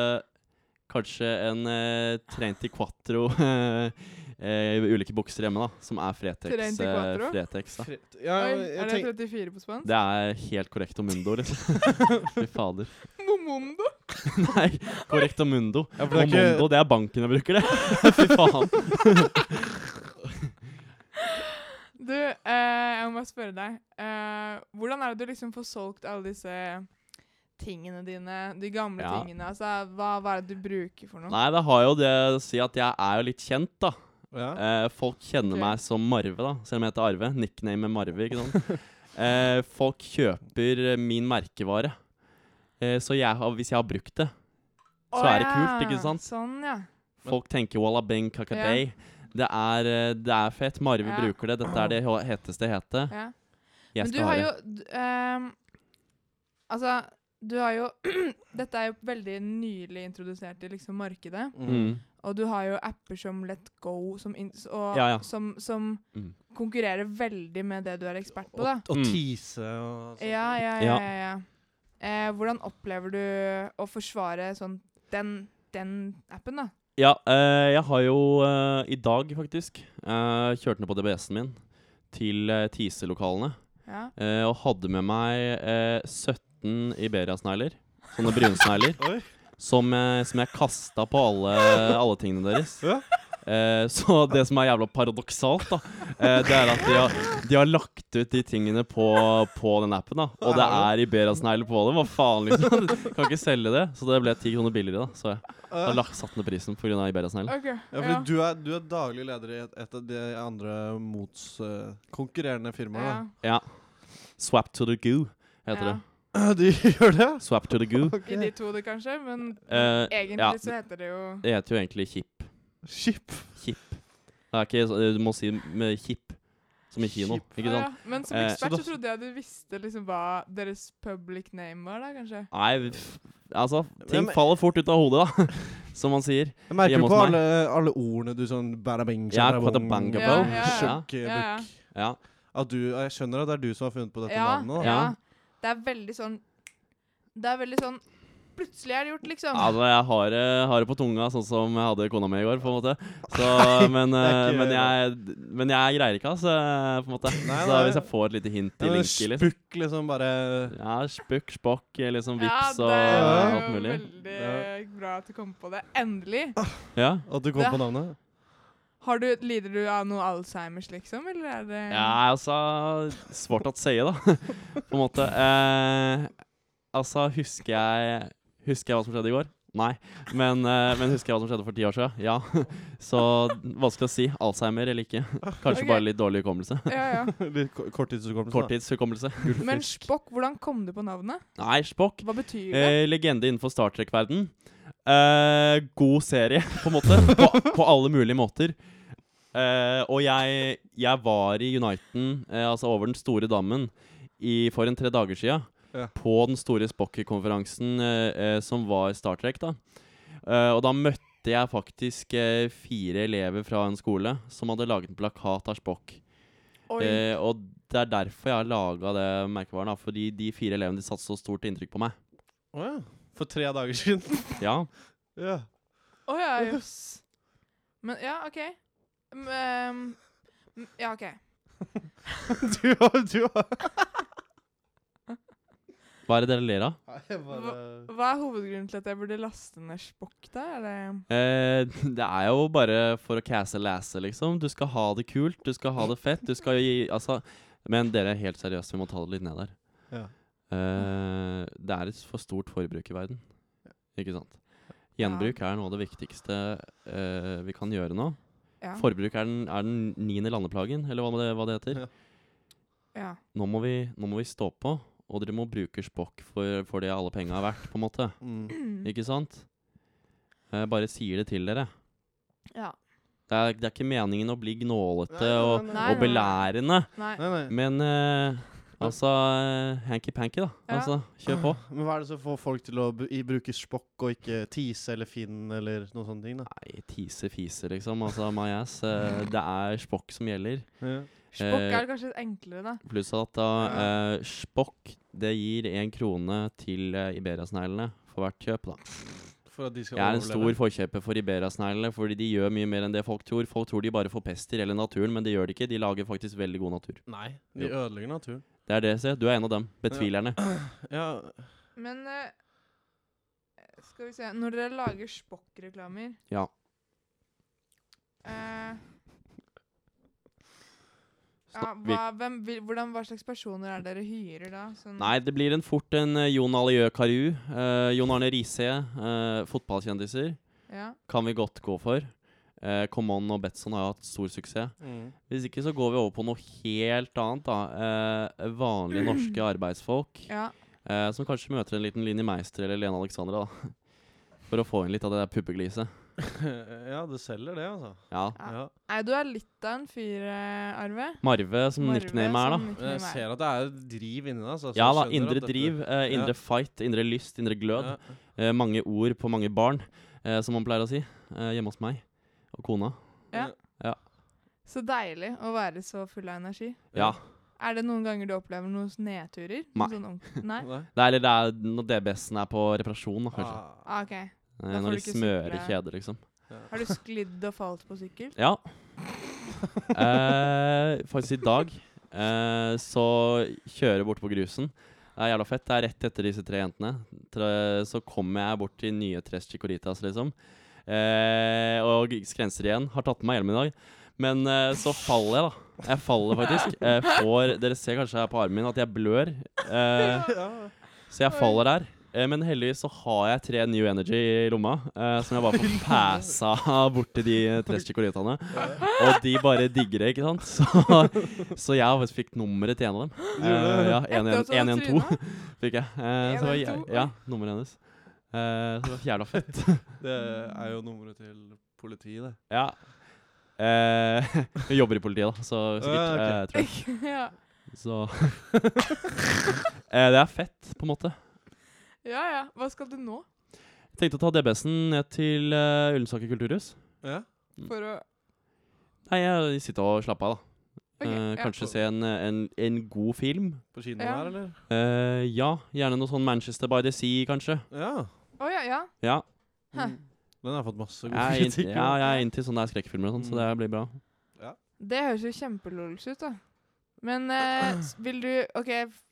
S2: kanskje en eh, Trenti Quattro eh, eh, ulike bukser hjemme, da. Som er Fretex.
S3: Trenti
S2: eh,
S3: Quattro?
S2: Fretex da.
S1: Fre- Ja,
S3: Oi,
S1: jeg
S3: er det
S1: tenk-
S3: 34 på spansk?
S2: Det er helt korrekt omundo, liksom. Fy fader.
S3: Momondo!
S2: Nei, korrekt omundo.
S1: ja, for det er
S2: Omundo,
S1: ikke
S2: det er banken jeg bruker, det. Fy faen.
S3: Du, eh, jeg må bare spørre deg. Eh, hvordan er det du liksom får solgt alle disse tingene dine? De gamle
S2: Ja.
S3: tingene. Altså, hva, hva er det du bruker for noe?
S2: Nei, det har jo det å si at jeg er jo litt kjent, da.
S1: Ja.
S2: Eh, folk kjenner
S3: Ok.
S2: meg som Marve, da, selv om jeg heter Arve. Nickname er Marve, ikke sant. eh, folk kjøper eh, min merkevare. Eh, så jeg har, hvis jeg har brukt det så
S3: Å
S2: er det kult, ikke sant?
S3: Sånn, ja.
S2: Folk tenker walla beng kakadei. Det, er, eh, det er fett. Marve
S3: Ja.
S2: bruker det. Dette er det hå- heteste hete.
S3: ja.
S2: Jeg
S3: Men du
S2: skal ha
S3: har
S2: det.
S3: jo d- ehm, Altså, du har jo Dette er jo veldig nylig introdusert i liksom markedet.
S2: Mm.
S3: Og du har jo apper som Let Go, som, in- s- og,
S2: Ja, ja.
S3: som, som
S2: Mm.
S3: konkurrerer veldig med det du er ekspert på.
S1: Og,
S3: da.
S1: og
S2: Mm.
S1: tease og sånn.
S3: Ja, ja, ja.
S2: Ja.
S3: ja, ja. Eh, hvordan opplever du å forsvare sånn den, den appen, da?
S2: Ja, eh, jeg har jo eh, i dag faktisk eh, kjørt ned på DBS-en min til eh, TISE-lokalene.
S3: Ja.
S2: eh, og hadde med meg eh, 17 Iberia-snegler, sånne brunsnegler,
S1: Oi.
S2: som, eh, som jeg kasta på alle, alle tingene deres.
S1: Ja.
S2: Eh, så det som er jævla paradoksalt, da, eh, det er at de har, de har lagt ut de tingene på, på den appen. da Og det er Iberia-snegler på det. Hva faen, liksom? Kan ikke selge det. Så det ble ti kroner billigere, da. Så jeg har lagt, satt ned prisen pga. Iberia-snegler.
S3: OK.
S1: Ja, fordi
S3: ja.
S1: Du, er, du er daglig leder i et, et av de andre mots eh, konkurrerende firmaer.
S3: ja.
S1: da.
S2: Swap to the goo heter
S3: Ja.
S2: det.
S1: De gjør det?
S2: Swap to the goo.
S1: Ok.
S3: I de to, det kanskje, men
S2: Eh,
S3: egentlig
S2: ja.
S3: så heter det jo
S2: Det heter jo egentlig Kip.
S1: Skip.
S2: Kip. Det er ikke, så- du må si med Kip, som i kino.
S1: Kip.
S2: Ikke sant?
S3: Ja, Men som
S2: Eh,
S3: ekspert
S1: så
S3: så
S1: da-
S3: trodde jeg du visste liksom hva deres public name var, da, kanskje.
S2: Nei, f- altså Ting
S1: Men-
S2: faller fort ut av hodet, da. Som man sier.
S1: Jeg merker
S2: Hjemme
S1: på
S2: hos meg.
S1: alle, alle ordene du sånn bada-bing,
S2: Ja, kvatabang,
S3: Ja, ja, ja.
S1: ja.
S3: Ja, ja.
S2: Ja.
S1: At du, jeg skjønner at det er du som har funnet på dette
S3: ja,
S1: navnet. da.
S3: Ja.
S2: Ja.
S3: Det er veldig sånn Det er veldig sånn Plutselig er det gjort, liksom.
S2: Altså, jeg har, det- har det på tunga, sånn som jeg hadde kona mi i går, på en måte. Så, men, eh,
S1: det er
S2: men,
S1: ikke-
S2: jeg, men jeg greier ikke, altså. På en måte.
S1: Nei,
S2: Så
S1: nei.
S2: hvis jeg får et lite hint i
S1: Ja, men
S2: linker, liksom.
S1: Spukk, liksom bare
S2: Ja, spukk, spokk, liksom vips
S3: ja,
S2: og
S3: det er
S2: alt
S3: jo
S2: mulig.
S3: veldig bra at du kom på det. Endelig.
S2: Ja.
S1: At du kom
S3: Det-
S1: på navnet.
S3: Har du, lider du av noe Alzheimers, liksom? Eller er det
S2: Ja, altså Svårt å si, da. På en måte. Eh, altså, husker jeg Husker jeg hva som skjedde i går? Nei. Men, eh, men husker jeg hva som skjedde for ti år siden? Ja. Så vanskelig å si. Alzheimer eller ikke. Kanskje
S3: Ok.
S2: bare litt dårlig hukommelse.
S3: ja, ja.
S1: Litt ko- korttidshukommelse. da.
S2: Korttidshukommelse.
S3: Men Spokk, hvordan kom du på navnet?
S2: Nei, spokk.
S3: Hva betyr det?
S2: Eh, legende innenfor Star Trek-verden. Eh, god serie, på en måte. På, på alle mulige måter. Eh, og jeg, jeg var i Uniten, eh, altså over den store dammen, i, for en tre dager sia.
S1: Ja.
S2: På den store Spocky-konferansen eh, eh, som var Star Trek, da. Eh, og da møtte jeg faktisk eh, fire elever fra en skole som hadde laget en plakat av Spock.
S3: Oi.
S2: Eh, og det er derfor jeg har laga det merkevaren, da, fordi de fire elevene de satte så stort inntrykk på meg.
S1: Å ja. For tre dager siden.
S2: Ja
S1: ja.
S3: Å ja, jøss. Men ja, OK. Mm, ehm, mm, ja, OK.
S1: Du har, du har.
S2: Hva er det dere ler av?
S1: Nei, jeg bare
S3: Hva er hovedgrunnen til at jeg burde laste ned Spokk, da? Er det
S2: Eh, det er jo bare for å casse læse, liksom. Du skal ha det kult, du skal ha det fett, du skal gi Altså. Men dere er helt seriøse, vi må ta det litt ned der.
S1: Ja.
S2: Eh, det er et for stort forbruk i verden. Ikke sant? Gjenbruk er noe av det viktigste eh, vi kan gjøre nå.
S3: Ja.
S2: Forbruk er den, er den niende landeplagen, eller hva det, hva det heter.
S1: Ja.
S3: ja.
S2: Nå, må vi, nå må vi stå på, og dere må bruke spokk for, for det alle penga er verdt, på en måte.
S1: mm.
S2: Ikke sant? Jeg bare sier det til dere.
S3: Ja.
S2: Det er, det er ikke meningen å bli gnålete
S1: Nei, nei,
S2: og,
S1: nei,
S3: nei.
S2: og
S3: Nei, nei,
S2: belærende,
S3: Nei.
S1: Nei, nei.
S2: men eh, altså eh, Hanky-panky, da.
S3: Ja.
S2: Altså, kjør på.
S1: Men hva er det som får folk til å bu- i- bruke spokk og ikke tise eller finn eller noen sånne ting? da?
S2: Nei, tise-fise, liksom. Altså, my ass. eh, det er spokk som gjelder.
S1: Ja.
S3: Spokk
S2: Eh,
S3: er kanskje litt enklere, da.
S2: Pluss at da eh, spokk, det gir én krone til eh, Iberia-sneglene for hvert kjøp, da.
S1: For at de skal
S2: Jeg er en
S1: overleve.
S2: stor forkjøper for Iberia-sneglene, fordi de gjør mye mer enn det folk tror. Folk tror de bare forpester eller naturen, men det gjør de ikke. De lager faktisk veldig god natur.
S1: Nei, de
S2: Jo.
S1: ødelegger naturen.
S2: Det er det, se. Du er en av dem. Betvilerne.
S1: Ja,
S3: Men eh, skal vi se Når dere lager Spokk-reklamer
S2: Ja.
S3: eh, Ja, hva, hvem, vil- hvordan, hva slags personer er dere hyrer da? Sånn,
S2: Nei, det blir en fort en eh, Jon Aliø Karu, eh, Jon Arne Riise, eh, fotballkjendiser
S3: Ja.
S2: kan vi godt gå for. Eh, Come On og Betson har jo hatt stor suksess. Hvis ikke så går vi over på noe helt annet, da. Eh, vanlige norske arbeidsfolk
S3: ja.
S2: eh, som kanskje møter en liten Linni Meister eller Lene Alexandra, da. For å få inn litt av det der puppegliset.
S1: ja, det selger det, altså.
S2: Ja.
S3: Ja.
S1: Ja.
S3: Nei, du er litt av en fyr, eh, Arve.
S2: Marve som
S3: Marve
S2: nickname er, da.
S1: Men
S3: som
S1: jeg
S3: nickname er.
S1: ser at det er driv inni deg. Altså, så jeg
S2: Ja da.
S1: skjønner at
S2: Indre
S1: dette-
S2: driv, eh,
S1: Ja.
S2: indre fight, indre lyst, indre glød.
S1: Ja.
S2: Eh, mange ord på mange barn, eh, som man pleier å si. Eh, hjemme hos meg og kona.
S3: Så deilig å være så full av energi.
S2: Ja.
S3: Er det noen ganger du opplever noen nedturer?
S2: Nei.
S3: Noen sånn ordent- Nei?
S1: Nei.
S2: Det er, eller det er når DBS-en er på reparasjon, da, kanskje.
S1: Ah.
S3: Ah, ok.
S2: Eh,
S3: Da får
S2: når
S3: du
S2: de
S3: ikke
S2: smører
S3: sykle.
S2: kjeder, liksom.
S1: Ja.
S3: Har du sklidd og falt på sykkel?
S2: Ja. Eh, faktisk i dag eh, så kjører jeg bort på grusen. Det er jævla fett. Det er rett etter disse tre jentene. Tre, så kommer jeg bort til nye Tres Chicoritas, liksom. Eh, og skrenser igjen. Har tatt på meg hjelmen i dag. Men eh, så faller jeg, da. Jeg faller faktisk. Jeg får, dere ser kanskje her på armen min at jeg blør. Eh,
S1: Ja.
S2: så jeg faller der. Eh, Men heldigvis så har jeg tre New Energy i lomma, eh, som jeg bare får passa bort til de eh, tre chikoritaene. Og de bare digger det, ikke sant? Så, så jeg har faktisk fikk nummeret til en av dem. Eh, ja,
S3: Etter at du
S2: 112
S3: har trynet?
S2: fikk jeg. Eh, så det var, jæ-
S3: 112?
S2: ja, nummeret hennes. Eh, så det var jævla fett.
S1: Det er jo nummeret til politiet, det.
S2: Ja. Eh, jeg jobber i politiet, da, så sikkert.
S1: Ah, ok.
S2: eh, tror jeg.
S3: ja.
S2: Så eh, Det er fett, på en måte.
S3: ja ja. Hva skal du nå
S2: Jeg tenkte å ta DBS-en ned til eh, Ullensaker kulturhus.
S1: Ja.
S3: for å
S2: Nei, jeg sitter og slapper av, da.
S3: Ok,
S2: Eh,
S3: ja.
S2: kanskje se en, en, en god film.
S1: På kino
S3: Ja.
S1: her, eller?
S2: Eh, ja, gjerne noe sånn Manchester by the Sea, kanskje.
S1: Ja.
S3: Å ja, ja.
S2: Ja,
S3: Hæ.
S1: Mm. Den har fått masse gode
S2: jeg er, inn,
S1: kritikker.
S2: ja, jeg er inntil sånne der skrekkfilmer og sånn, så det
S1: Mm.
S2: blir bra.
S3: Det høres jo kjempelols ut, da. Men eh, s- vil du OK, f-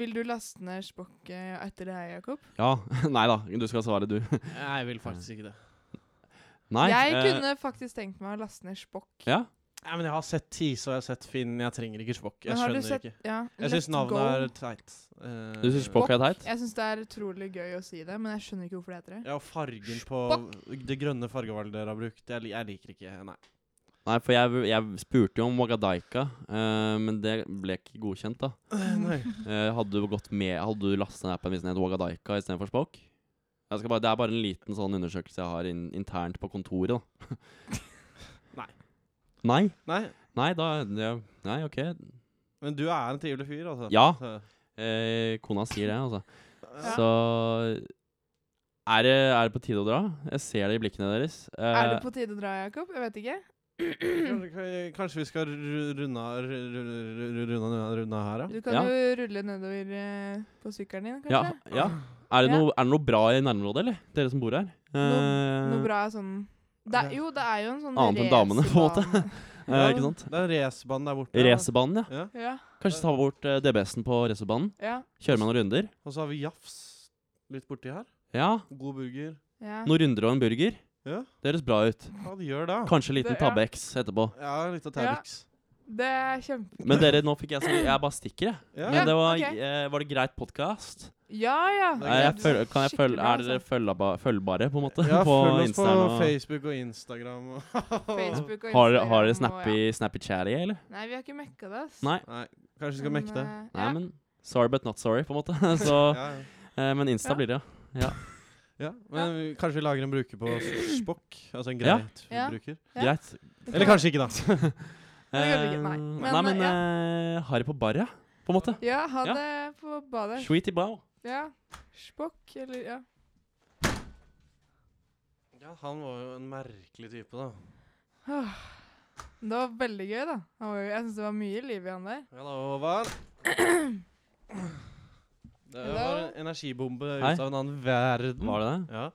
S3: vil du laste ned spokket etter det her, Jakob?
S2: Ja, Nei da, du skal svare, du.
S1: Jeg vil faktisk ikke det.
S2: Nei.
S3: jeg
S2: eh,
S3: kunne faktisk tenkt meg å laste ned spokk.
S2: Ja,
S1: Nei, men Jeg har sett Tise og jeg har sett Finn. Jeg trenger ikke Spokk. Jeg
S3: Men har du
S1: skjønner
S3: sett-
S1: ikke.
S3: Ja,
S1: Jeg syns
S3: Let
S1: navnet
S3: Go.
S1: er teit. Eh,
S2: Du syns Spokk er teit?
S3: Jeg syns det er utrolig gøy å si det, men jeg skjønner ikke hvorfor det heter det.
S1: Ja, og fargen på det grønne fargevalget dere har brukt. Jeg, li- jeg liker ikke Nei.
S2: Nei, for jeg, jeg spurte jo om Wagadaika, eh, men det ble ikke godkjent, da.
S1: Nei.
S2: Eh, hadde du gått med Hadde du lastet ned appen hvis den het Wagadaika istedenfor Spokk? Jeg skal bare, det er bare en liten sånn undersøkelse jeg har inn, internt på kontoret, da.
S1: Nei.
S2: Nei?
S1: Nei.
S2: Nei, da det, Nei, OK.
S1: Men du er en trivelig fyr, altså.
S2: Ja.
S1: Så-
S2: Eh, kona sier det, altså.
S3: Ja.
S2: Så er det, er det på tide å dra? Jeg ser det i blikkene deres. Eh,
S3: Er det på tide å dra, Jakob? Jeg vet ikke.
S1: Kanskje- Kanskje vi skal ru- runde av ru- ru- ru- ru- runde, av- runde av her, ja?
S3: Du kan
S2: Ja.
S3: jo rulle nedover eh, på sykkelen din,
S2: ja,
S3: kanskje?
S2: ja. Er, det
S3: Ja.
S2: noe, er det noe bra i nærområdet, eller? Dere som bor her?
S3: Noe, noe
S2: Eh,
S3: bra sånn det er, Jo, det er jo en sånn
S2: Annet enn damene, på en måte.
S3: racerbane.
S2: eh, ikke sant?
S1: Det er racerbane der borte. ja.
S2: Racerbanen, ja.
S1: Ja.
S3: ja,
S2: Kanskje ta bort eh, DBS-en på racerbanen?
S3: ja,
S2: Kjøre med noen runder?
S1: Og så har vi Jafs litt borti her.
S2: Ja.
S1: God burger.
S3: ja.
S2: Noen runder og en burger?
S1: Ja.
S2: Det høres bra ut.
S1: Ja, det gjør det.
S2: Kanskje en liten
S3: Det- ja.
S2: Tabbe X etterpå.
S1: Ja, litt av Terlix.
S3: Det er kjempe...
S2: Men dere, nå fikk jeg så Jeg bare stikker, jeg.
S1: Ja.
S2: Men det var,
S3: ok.
S2: eh, var det greit podkast?
S3: Ja, ja.
S1: Det er
S2: Er, jeg
S1: greit.
S2: føl- kan jeg
S3: Skikkelig
S2: følge,
S3: bra,
S2: er dere
S3: altså.
S2: følgaba- følgbare, på en måte?
S1: Ja, følg oss på
S2: Instagram og-
S1: Facebook og Instagram. Og
S3: Facebook og
S2: Har,
S3: Instagram
S2: har
S3: og-
S2: dere snappy, snappy chatty, eller?
S3: ja. Nei, vi har ikke mekka det, ass.
S2: Nei,
S1: Nei, kanskje vi skal
S3: Men,
S1: mekke det.
S3: eh,
S2: Nei,
S3: ja.
S2: men sorry but not sorry, på en måte. Så,
S1: Ja, ja.
S2: eh, men Insta
S3: Ja.
S2: blir det, ja.
S1: ja. Men vi, kanskje vi lager en bruker på s- Spokk? Altså en
S2: Ja.
S1: greit
S3: Ja.
S1: bruker?
S3: Ja.
S2: Greit.
S1: Eller kanskje ikke, da.
S3: Det gjør vi ikke, nei.
S2: Eh,
S3: Men,
S2: nei, men
S3: eh,
S2: eh, ha det på barret, på en måte.
S3: Ja, ha
S2: Ja.
S3: det på badet.
S2: Sweetie bow.
S3: Ja. Spokk, eller ja.
S1: Ja, han var jo en merkelig type, da.
S3: Det var veldig gøy, da. Han var jo- Jeg syns det var mye liv i han der.
S1: Ja da, Håvard. Det
S3: Hello?
S1: var en energibombe
S2: Hei.
S1: ut av en annen verden.
S2: Var det det?
S1: Ja.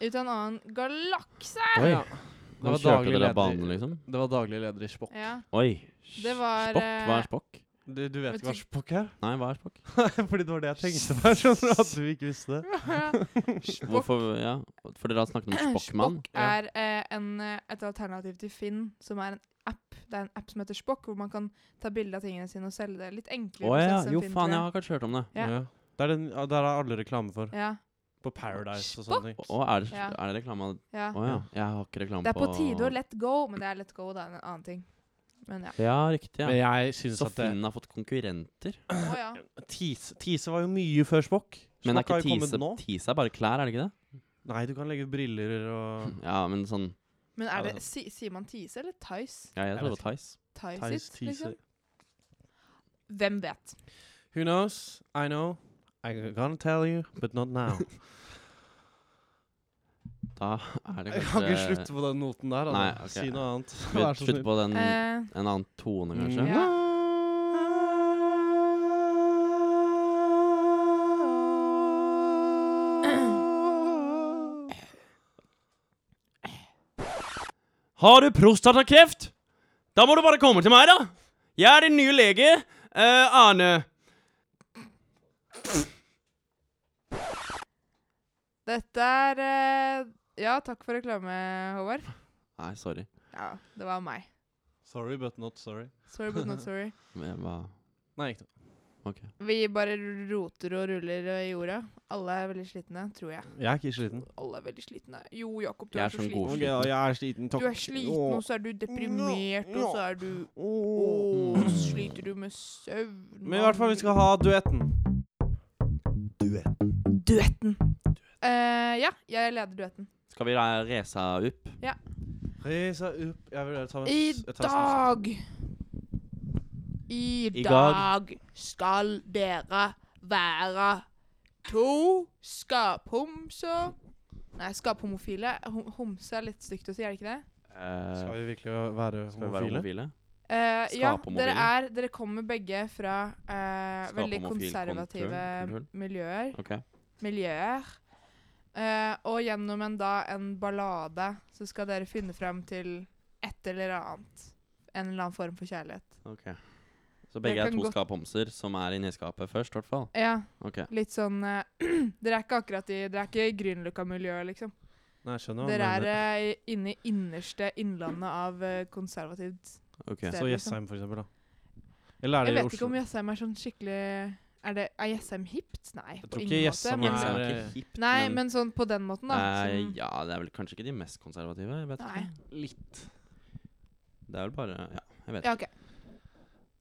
S3: Ut av en annen galakse!
S2: Oi.
S1: Ja. Det
S2: Nå
S1: var
S2: kjørte
S1: daglig
S2: dere av banen,
S1: leder,
S2: liksom?
S1: det var daglig leder i Spokk.
S3: Ja.
S2: Oi.
S3: Det var,
S2: Spokk?
S3: eh,
S2: Hva er spokk?
S1: Du, du vet
S3: Vet
S1: ikke hva
S3: du-
S1: Spokk er?
S2: Nei, hva er spokk?
S1: Fordi det var det jeg tenkte på. Skjønner du at du ikke visste det?
S3: Spokk
S2: Hvorfor, ja, for dere har snakket om Spokkmann.
S3: Spock er eh, en, eh, et alternativ til Finn, som er en app Det er en app som heter Spock, hvor man kan ta bilde av tingene sine og selge det. Litt enklere
S2: Å ja.
S3: prosess enn
S2: Jo,
S3: Finn,
S2: faen,
S3: tror
S2: jeg har kanskje hørt om det.
S3: Ja.
S1: Det er den ja, der er alle reklame for.
S3: Ja,
S1: På Paradise og sånne ting.
S2: Å, er det,
S3: Ja.
S2: er det reklame? Å
S3: ja.
S2: ja. Jeg har ikke reklame
S3: Det er på tide å let go, men det er let go, det er en annen ting. Men ja.
S2: Ja, riktig.
S1: Men
S2: ja.
S1: jeg synes
S2: Så
S1: at det
S2: Finn har fått konkurrenter.
S3: Å ja.
S1: Tease, tease var jo mye før Spock.
S2: Men er
S1: Spock
S2: ikke
S1: har jo kommet
S2: Tise
S1: nå.
S2: Tise er bare klær, er det ikke det?
S1: Nei, du kan legge briller og
S2: Ja, men sånn
S3: Men
S1: Ja,
S3: er det,
S1: det-
S3: si, sier man Tise eller Tice?
S2: Ja, jeg
S1: Jeg
S2: tror
S1: vet
S2: det var Tice.
S1: Theis
S3: Tice,
S1: teaser.
S3: liksom? Hvem vet?
S1: Who knows? I know. I'm gonna tell you, but not now.
S2: Da er det
S1: Jeg
S2: kanskje
S1: kan ikke slutte på den noten der. Altså.
S2: Nei, ok.
S1: Si noe annet. Vær så
S2: Slutt
S1: snill.
S2: på den, en
S3: Eh,
S2: annen tone, kanskje.
S1: Mm.
S3: ja.
S2: Har du prostatakreft? Da må du bare komme til meg, da! Jeg er din nye lege, eh, Arne.
S3: Dette er eh, Ja, takk for reklame, Håvard.
S2: Nei, sorry.
S3: Ja, det var meg.
S1: Sorry, but not sorry.
S3: Sorry, but not sorry.
S2: Men jeg bare
S1: Nei, ikke noe.
S2: OK.
S3: Vi bare roter og ruller i jorda. Alle er veldig slitne, tror jeg.
S1: Jeg er ikke sliten.
S3: Alle er veldig slitne. Jo, Jakob, du
S2: Jeg
S3: er,
S2: er
S3: så
S2: sånn
S3: sliten.
S2: god.
S1: Ok, ja, jeg er sliten. Takk.
S3: Du er sliten, og så er du deprimert, og så er du
S1: Åh.
S3: Åh, sliter du med søvn?
S1: Men i hvert fall, vi skal ha duetten.
S4: Duett.
S3: Duetten! Eh, ja, jeg leder duetten.
S2: Skal vi ra- race opp?
S1: Reisa opp Jeg vurderer å ta med
S3: I
S1: s- jeg tar med
S3: dag I
S2: I
S3: dag skal dere være to skaphomser Nei, skaphomofile. Hom- Homse er litt stygt å si, er det ikke det?
S1: s- Skal
S2: Eh,
S1: vi virkelig være
S2: skal vi være
S1: homofile?
S2: homofile?
S3: Eh, ja,
S2: Skaphomofile.
S3: dere er Dere kommer begge fra eh, veldig
S2: Skaphomofil
S3: konservative
S2: kontroll, kontroll.
S3: miljøer.
S2: OK.
S3: miljøer. Eh, og gjennom en, da, en ballade så skal dere finne frem til et eller annet. En eller annen form for kjærlighet.
S2: Så begge
S3: Jeg
S2: er
S3: kan
S2: to
S3: godt-
S2: skaphomser som er inni skapet først, i hvert fall.
S3: Ja,
S2: OK.
S3: litt sånn eh, Dere er ikke akkurat i Dere er ikke i Grünerløkka-miljøet, liksom.
S1: Nei, jeg skjønner hva du
S3: Dere er
S1: mener.
S3: eh, i- inne i innerste innlandet av eh, konservativt
S2: ok.
S3: sted.
S1: Så
S3: liksom.
S1: Jessheim, for eksempel. Da. Eller er
S3: Jeg
S1: det i
S3: vet ikke
S1: Oslo?
S3: om Jessheim er sånn skikkelig Er, det, er Jessheim hipt? Nei.
S1: Jeg
S3: på
S1: tror
S3: ingen
S1: ikke
S3: måte,
S1: Jessheim
S3: men
S1: er-
S2: Jessheim
S3: sånn-
S1: eh,
S2: er ikke hipt,
S3: Nei, men sånn på den måten, da.
S2: eh,
S3: sånn-
S2: Ja, det er vel kanskje ikke de mest konservative. Jeg vet
S3: Nei.
S2: ikke. Litt. Det er vel bare Ja, jeg vet
S3: ja, OK.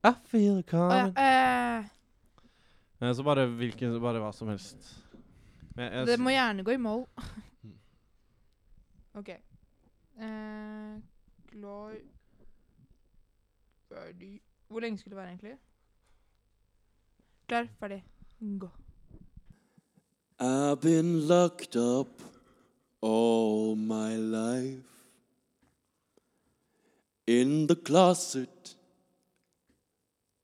S1: I feel it
S3: Å, ja.
S1: coming.
S3: eh,
S1: Nei, Så bare hvilken Bare hva som helst. Men jeg,
S3: Det må gjerne gå i mål. OK. Eh, klar Ferdig Hvor lenge skulle det være, egentlig? Klar, ferdig, gå.
S4: I've been locked up all my life. In the closet.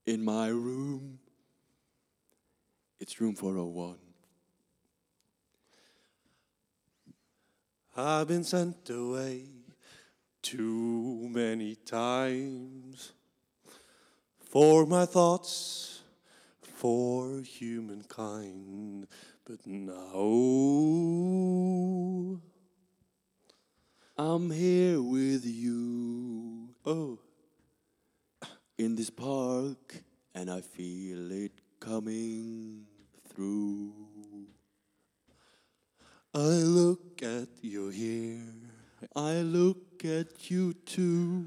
S4: In my room. It's room 401. I've been sent away too many times for my thoughts, for humankind. But now I'm here with you. Oh, in this park, and I feel it coming through. I look at you here, I look at you too,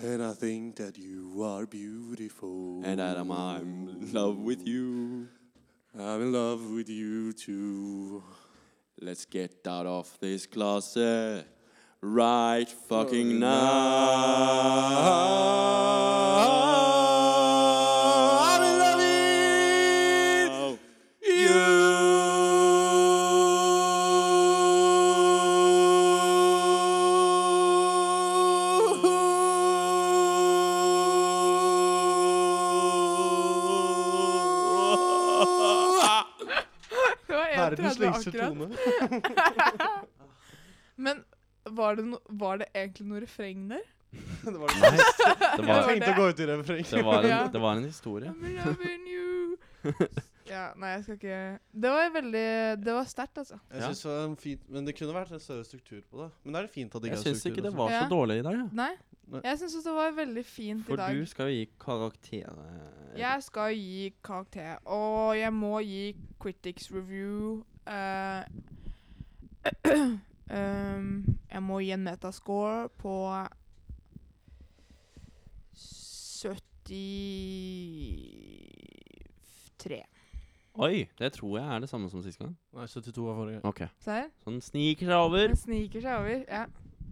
S4: and I think that you are beautiful. And that I'm in love with you. I'm in love with you too. Let's get out of this closet right fucking now. I'm in love with you.
S3: Det var 1,30 akkurat. Men var det, no, var det egentlig noe refreng der?
S2: Nei, det
S3: var-
S2: var,
S1: Jeg tenkte å gå ut i
S2: det
S1: refrenget.
S2: var,
S3: Ja.
S2: en, det var en historie.
S3: I'm in love with you. Ja, nei, jeg skal ikke Det var veldig Det var sterkt, altså.
S1: Jeg
S2: Ja.
S1: synes det var en fint Men det kunne vært en større struktur på det. Men da er det fint at det ikke
S2: Jeg
S1: er
S2: syns
S1: struktur altså.
S2: ikke det
S1: også.
S2: var så
S3: Ja.
S2: dårlig i dag. Ja.
S3: Nei? Jeg syns det var veldig fint i
S2: For
S3: dag.
S2: du skal jo gi karakter eh,
S3: Jeg skal gi karakter, og jeg må gi critics review. eh, ehm, jeg må gi en metascore på 73.
S2: Oi! Det tror jeg er det samme som sist gang.
S1: Nei, 72 var forrige.
S2: Ok,
S3: Ser?
S2: Så den sniker seg over.
S3: Den sniker seg over. Ja.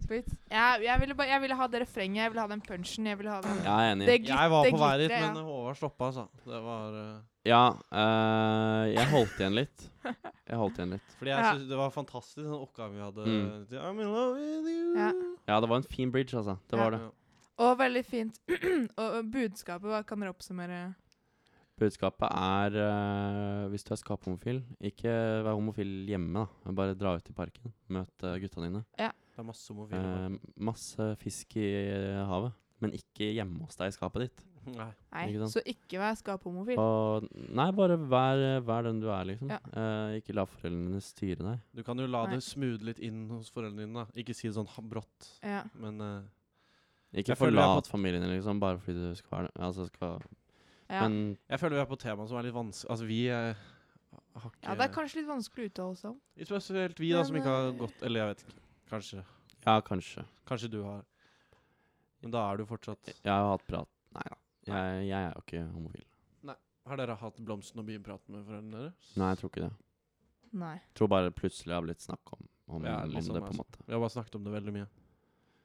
S3: Sweet. Ja, jeg, ville bare, jeg ville ha det refrenget, jeg ville ha den punchen, jeg ville ha den
S2: Jeg er enig.
S3: Det glitter,
S1: Jeg var på vei
S3: glitter,
S1: dit,
S3: ja.
S1: men Håvard stoppa, altså. Det var eh,
S2: Ja, eh, jeg holdt igjen litt. Jeg holdt igjen litt.
S1: Fordi jeg
S3: Ja.
S1: synes det var fantastisk, den oppgaven vi hadde.
S2: Mm.
S1: til I'm in love with you.
S3: Ja.
S2: Ja, det var en fin bridge, altså. Det
S3: Ja.
S2: var det.
S1: Ja.
S3: Og veldig fint. og, og budskapet, hva kan dere oppsummere?
S2: Budskapet er eh, hvis du er skaphomofil, ikke vær homofil hjemme, da. Men Bare dra ut i parken. Møt eh, gutta dine.
S1: Det er masse homofile.
S2: Eh, masse fisk i eh, havet. Men ikke hjemme hos deg i skapet ditt.
S1: bak. Nei.
S3: Nei,
S2: Ikke
S3: så ikke vær skaphomofil.
S2: Og, nei, bare vær, vær den du er, liksom.
S3: Ja.
S2: Eh, ikke la foreldrene dine styre deg.
S1: Du kan jo la
S3: Nei.
S1: det smoothe litt inn hos foreldrene dine. da. Ikke si det sånn ha- brått,
S3: Ja.
S1: men eh,
S2: Ikke
S1: Jeg føler jeg har
S2: forlat familien din, liksom, bare fordi du skal være det. Altså, skal,
S3: Ja.
S2: Men
S1: jeg føler vi er på et tema som er litt vanskelig Altså, vi eh, har ikke
S3: ja, det er kanskje litt vanskelig å uttale seg om.
S1: Spesielt vi, da, som
S3: Men,
S1: ikke har
S3: eh,
S1: gått Eller jeg vet ikke. Kanskje.
S2: ja, kanskje.
S1: Kanskje du har. Men da er du fortsatt
S2: Jeg har hatt prat Nei da. Jeg, jeg er jo ikke homofil.
S1: Har dere hatt blomsten og bieprat med foreldrene deres?
S2: Nei, jeg tror ikke det.
S3: Nei.
S2: Tror bare plutselig det har blitt snakk om, om,
S1: Ja,
S2: om
S1: liksom,
S2: det, på en
S1: altså.
S2: måte.
S1: Vi har bare snakket om det veldig mye.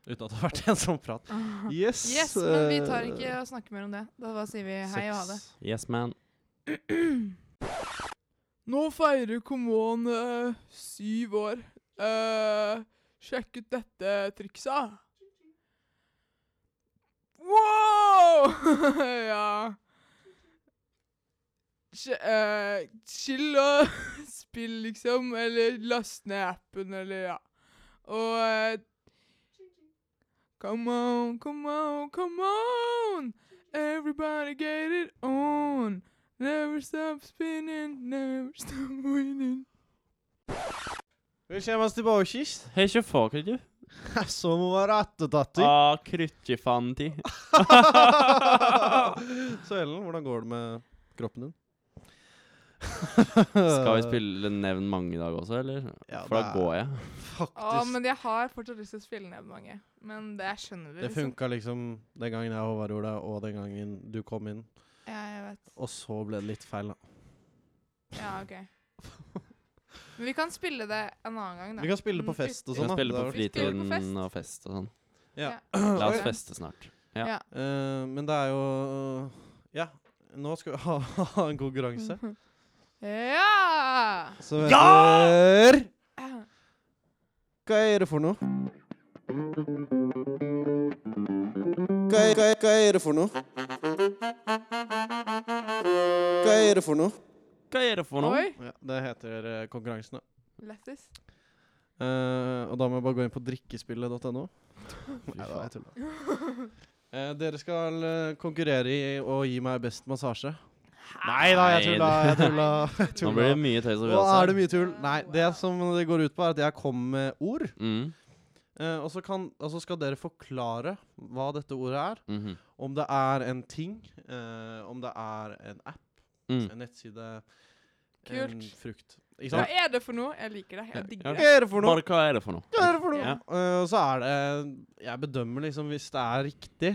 S1: Uten at det har vært en sånn prat. Yes,
S3: Yes, men vi tar
S1: eh,
S3: ikke å snakke mer om det. Da bare sier vi hei og ha det.
S1: sex.
S2: Yes, man.
S3: Nå feirer Komon syv år. Eh, sjekk ut dette trikset. Wow! ja. Sj- eh, chill og spill, liksom. Eller last ned appen, eller ja. Og eh, Come on, come on, come on! Everybody get it on! Never stop spinning, never stop winning.
S1: Vi kommer oss tilbake.
S2: Hei, ikke fuck, du.
S1: Som å være attetatter.
S2: Ah, kryttjefanti.
S1: Så Ellen, hvordan går det med kroppen din?
S2: Skal vi spille Nevn mange i dag også, eller?
S1: Ja,
S2: For da
S1: det er-
S2: går jeg.
S1: Faktisk.
S3: Å, men jeg har fortsatt lyst til å spille ned mange. Men det jeg skjønner du,
S1: det funka liksom den gangen jeg og Håvard gjorde det, og den gangen du kom inn.
S3: Ja, jeg vet.
S1: Og så ble det litt feil, da.
S3: Ja, ok. Men vi kan spille det en annen gang, da.
S1: Vi kan spille på
S3: Mm,
S1: fest og
S2: Vi
S1: sånn.
S2: kan
S1: da.
S2: spille
S1: Det
S2: på
S1: har vært-
S3: Vi spiller på
S2: fritiden
S3: fest.
S2: og fest og sånn.
S1: Ja.
S2: La oss
S1: Ok.
S2: feste snart. Ja.
S3: Ja.
S1: Eh, men det er jo Ja. Nå skal vi ha, ha en konkurranse.
S3: Ja!
S1: Så heter Hva er det for noe? Hva er, hva, er- hva er det for noe? Hva er det for noe?
S2: Hva er det for noe?
S3: Oi.
S1: Ja, det heter eh, konkurransen, da.
S3: Lættis.
S1: Eh, og da må jeg bare gå inn på drikkespillet.no. Nei, da,
S2: faen.
S1: jeg tuller. Eh, dere skal eh, konkurrere i å gi meg best massasje. Nei da, jeg tulla. Jeg tulla. Jeg
S2: Nå
S1: tulla.
S2: blir det mye tøys og
S1: Nå er det mye tull. Nei,
S3: Wow.
S1: det som det går ut på, er at jeg kommer med ord.
S2: Mm.
S1: eh, og, så kan, og så skal dere forklare hva dette ordet er.
S2: Mhm.
S1: Om det er en ting, eh, om det er en app,
S2: Mm.
S1: en nettside, en
S3: Kult.
S1: frukt. Ikke
S3: Hva
S1: sant?
S3: er det for noe? Jeg liker det. Jeg
S2: Ja.
S3: digger
S1: Hva
S3: det.
S1: er det for noe?
S2: Bare hva er det for noe?
S1: Hva er det for noe?
S2: Ja.
S1: Eh, og så er det Jeg bedømmer liksom hvis det er riktig,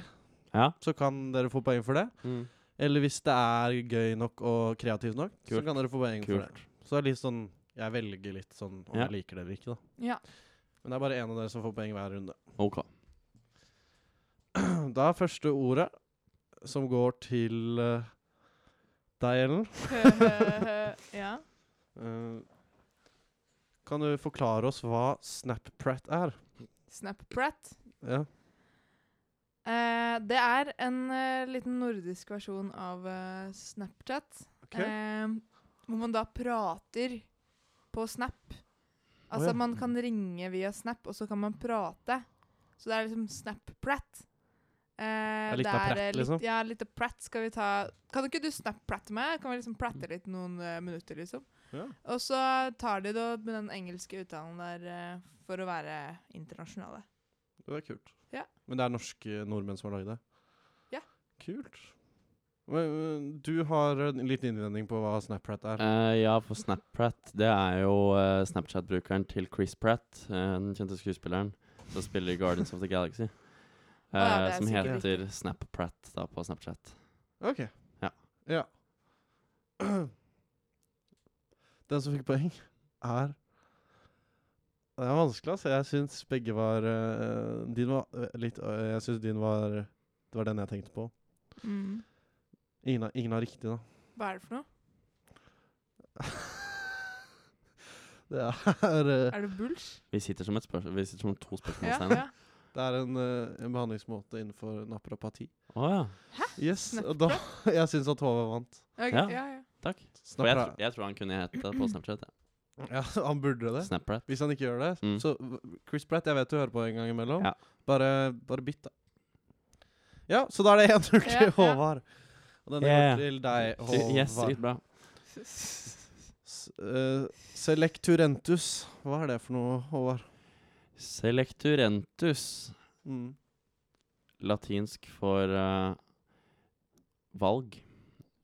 S2: Ja.
S1: så kan dere få poeng for det.
S2: Mm.
S1: Eller hvis det er gøy nok og kreativt nok, så
S2: Kult.
S1: kan dere få poeng for
S2: Kult.
S1: det. Så det er litt sånn Jeg velger litt sånn om
S2: Ja.
S1: jeg liker det eller ikke, da.
S3: Ja.
S1: Men det er bare én av dere som får poeng hver runde.
S2: OK.
S1: Da er første ordet som går til eh, deg, Ellen.
S3: ja.
S1: Eh, kan du forklare oss hva Snapprat er?
S3: Snapprat.
S1: Ja.
S3: Eh, det er en eh, liten nordisk versjon av eh, Snapchat. Eh, hvor man da prater på Snap. Altså
S1: ja.
S3: man kan ringe via Snap, og så kan man prate. Så det er liksom Snap-prat. Eh,
S1: er litt av prat,
S3: eh,
S1: liksom.
S3: Ja, litt av prat skal vi ta. Kan ikke du Snap-prate med? Kan vi liksom prate litt noen eh, minutter, liksom?
S1: Ja.
S3: Og så tar de det med den engelske uttalen der eh, for å være internasjonale.
S1: Det er kult.
S3: Ja.
S1: Men det er norske nordmenn som har laget det?
S3: Ja.
S1: Kult. Men, men Du har en liten innvending på hva Snapchat er.
S2: Eh, ja, for Snapchat Det er jo eh, Snapchat-brukeren til Chris Pratt, eh, den kjente skuespilleren som spiller i Guardians of the Galaxy. eh,
S3: ja, det er
S2: som
S3: sikkert
S2: heter Snap-Pratt da, på Snapchat.
S1: Ok.
S2: Ja.
S1: Ja. Den som fikk poeng, er Det er vanskelig, altså. Jeg syns begge var eh, Din var eh, litt eh, Jeg syns din var Det var den jeg tenkte på.
S3: Mm.
S1: Ingen, har- ingen har riktig, da.
S3: Hva er det for noe?
S1: Det er, eh,
S3: Er det bulls?
S2: Vi sitter som, et spørs vi sitter som to
S3: Ja,
S2: spørsmålstegn. Å ja.
S3: ja.
S1: det er en, eh, en behandlingsmåte innenfor naprapati.
S3: Hæ?
S1: Yes, og da, jeg syns at Håvard vant.
S3: Ok,
S2: Ja.
S3: ja, ja.
S2: takk. For jeg,
S1: Snapra
S2: tro- jeg tror han kunne hete det på Snapchat. Ja.
S1: ja, han burde det.
S2: Snapchat.
S1: Hvis han ikke gjør det,
S2: Mm.
S1: så v- Chris Pratt, jeg vet du hører på en gang imellom.
S2: Ja.
S1: Bare, bare bytt, da. Ja, så da er det 1-0 til
S3: Ja, ja.
S1: Håvard. Og denne
S2: Yeah.
S1: går til deg, Håvard.
S2: Yes, sykt bra.
S1: S eh, selecturentus. Hva er det for noe, Håvard?
S2: Selecturentus,
S1: Mm.
S2: latinsk for eh, valg.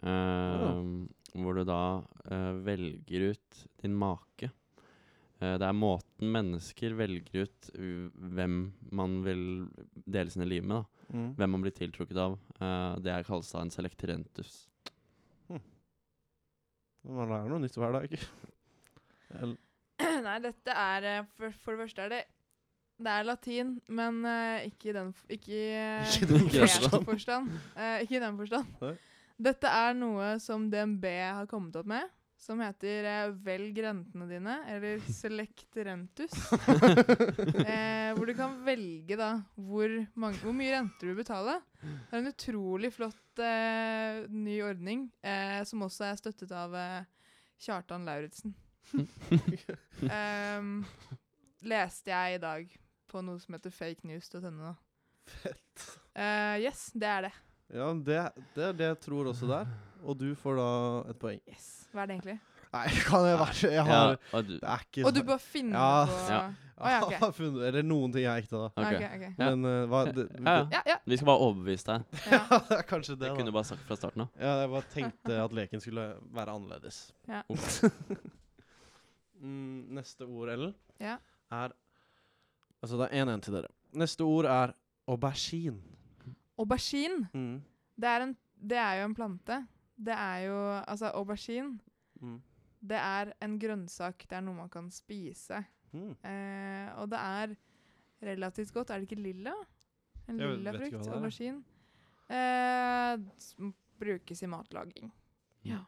S2: Eh, Hvor du da eh, velger ut din make. Eh, det er måten mennesker velger ut uh, hvem man vil dele sine liv med. da.
S1: Mm.
S2: Hvem man blir tiltrukket av. Eh, det er- kalles da en selecturentus.
S1: Man lærer noe nytt hver dag. El-
S3: Nei, dette er eh, for, for det første er det Det er latin, men eh, ikke i den f- Ikke i eh,
S1: Ikke i den
S3: konkret
S1: forstand.
S3: forstand. Eh, ikke i den forstand.
S1: Nei.
S3: Dette er noe som DNB har kommet opp med, som heter eh, 'velg rentene dine', eller 'select rentus'. eh, hvor du kan velge da hvor, mange, hvor mye renter du vil betale. Det er en utrolig flott eh, ny ordning, eh, som også er støttet av eh, Kjartan Lauritzen. Ehm, leste jeg i dag på noe som heter fakenews.no.
S1: Fett.
S3: Eh, yes, det er det.
S1: Ja, det, det er det jeg tror også det er. Og du får da et poeng.
S3: Yes. Hva er det egentlig?
S1: Nei, kan jeg være Jeg har
S2: Ja, og du,
S1: Det er ikke
S3: Og du
S1: så-
S3: bare finner
S1: Ja.
S3: på
S2: Ja.
S3: Å, ja, ok.
S1: Jeg har funnet, Eller noen ting jeg ikke da.
S2: ok.
S3: Ok, ok.
S2: Ja.
S1: Men eh, hva det,
S2: Ja, ja.
S3: Ja, ja.
S2: Vi skal bare overbevise deg.
S3: ja.
S1: det er kanskje det,
S2: Det kunne
S1: da.
S2: du bare sagt fra starten av.
S1: Ja, jeg bare tenkte at leken skulle være annerledes.
S3: Ja.
S1: mm, neste ord, Ellen,
S3: Ja.
S1: er Altså, det er 1-1 til dere. Neste ord er aubergine.
S3: Aubergine,
S1: Mm.
S3: det er, en, det er jo en plante. Det er jo Altså, aubergine,
S1: Mm.
S3: det er en grønnsak. Det er noe man kan spise.
S1: Mm.
S3: Eh, og det er relativt godt. Er det ikke lilla? En
S1: Jeg vet-
S3: lilla
S1: vet ikke hva
S3: frukt?
S1: det er.
S3: Aubergine. Eh, som brukes i matlaging. Ja.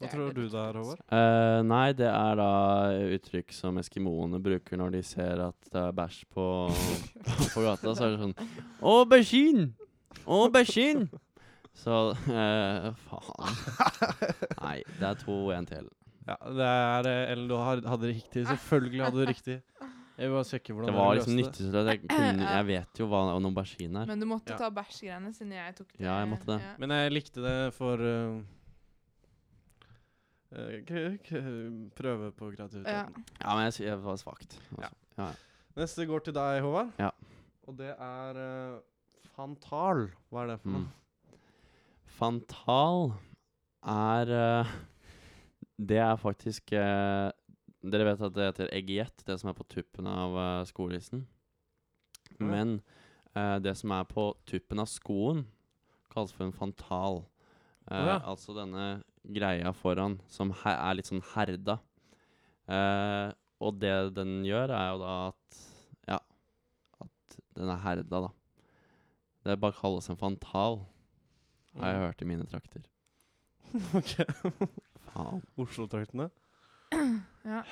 S1: Hva tror du der, Håvard?
S2: Eh, nei, det er da uttrykk som eskimoene bruker når de ser at det er bæsj på, på gata. Så er det sånn Aubergine! Aubergine! Så eh, Faen. Nei, det er 2-1 til.
S1: Ja, det er eh, Ellen, du har, hadde det riktig. Selvfølgelig hadde du riktig. Jeg vil bare sjekke hvordan
S2: Det var
S1: dere løste
S2: liksom
S1: det.
S2: nyttig. så Jeg, kunne, jeg vet jo hva en aubergine er.
S3: Men du måtte
S1: Ja.
S3: ta bæsjgreiene siden jeg tok det.
S2: Ja, jeg måtte det.
S3: Ja.
S1: Men jeg likte det for eh, eh, k- k- Prøve på
S3: Ja.
S1: kreativiteten.
S2: Ja, men jeg, sy- jeg var svakt.
S1: Ja.
S2: Altså.
S1: Neste går til deg, Håvard.
S2: Ja.
S1: Og det er eh, Fantal. Hva er det for
S2: Mm.
S1: noe?
S2: Fantal er eh, Det er faktisk eh, Dere vet at det heter eggjet, det som er på tuppen av eh, skolissen.
S1: Ja.
S2: Men eh, det som er på tuppen av skoen, kalles for en fantal. Eh,
S1: Å ja.
S2: Altså denne greia foran som he er litt sånn herda. Eh, og det den gjør, er jo da at Ja, at den er herda, da. Det bare kalles en fantal, har jeg hørt i mine trakter.
S1: Ok.
S2: Faen.
S1: Oslo-traktene.
S3: Ja.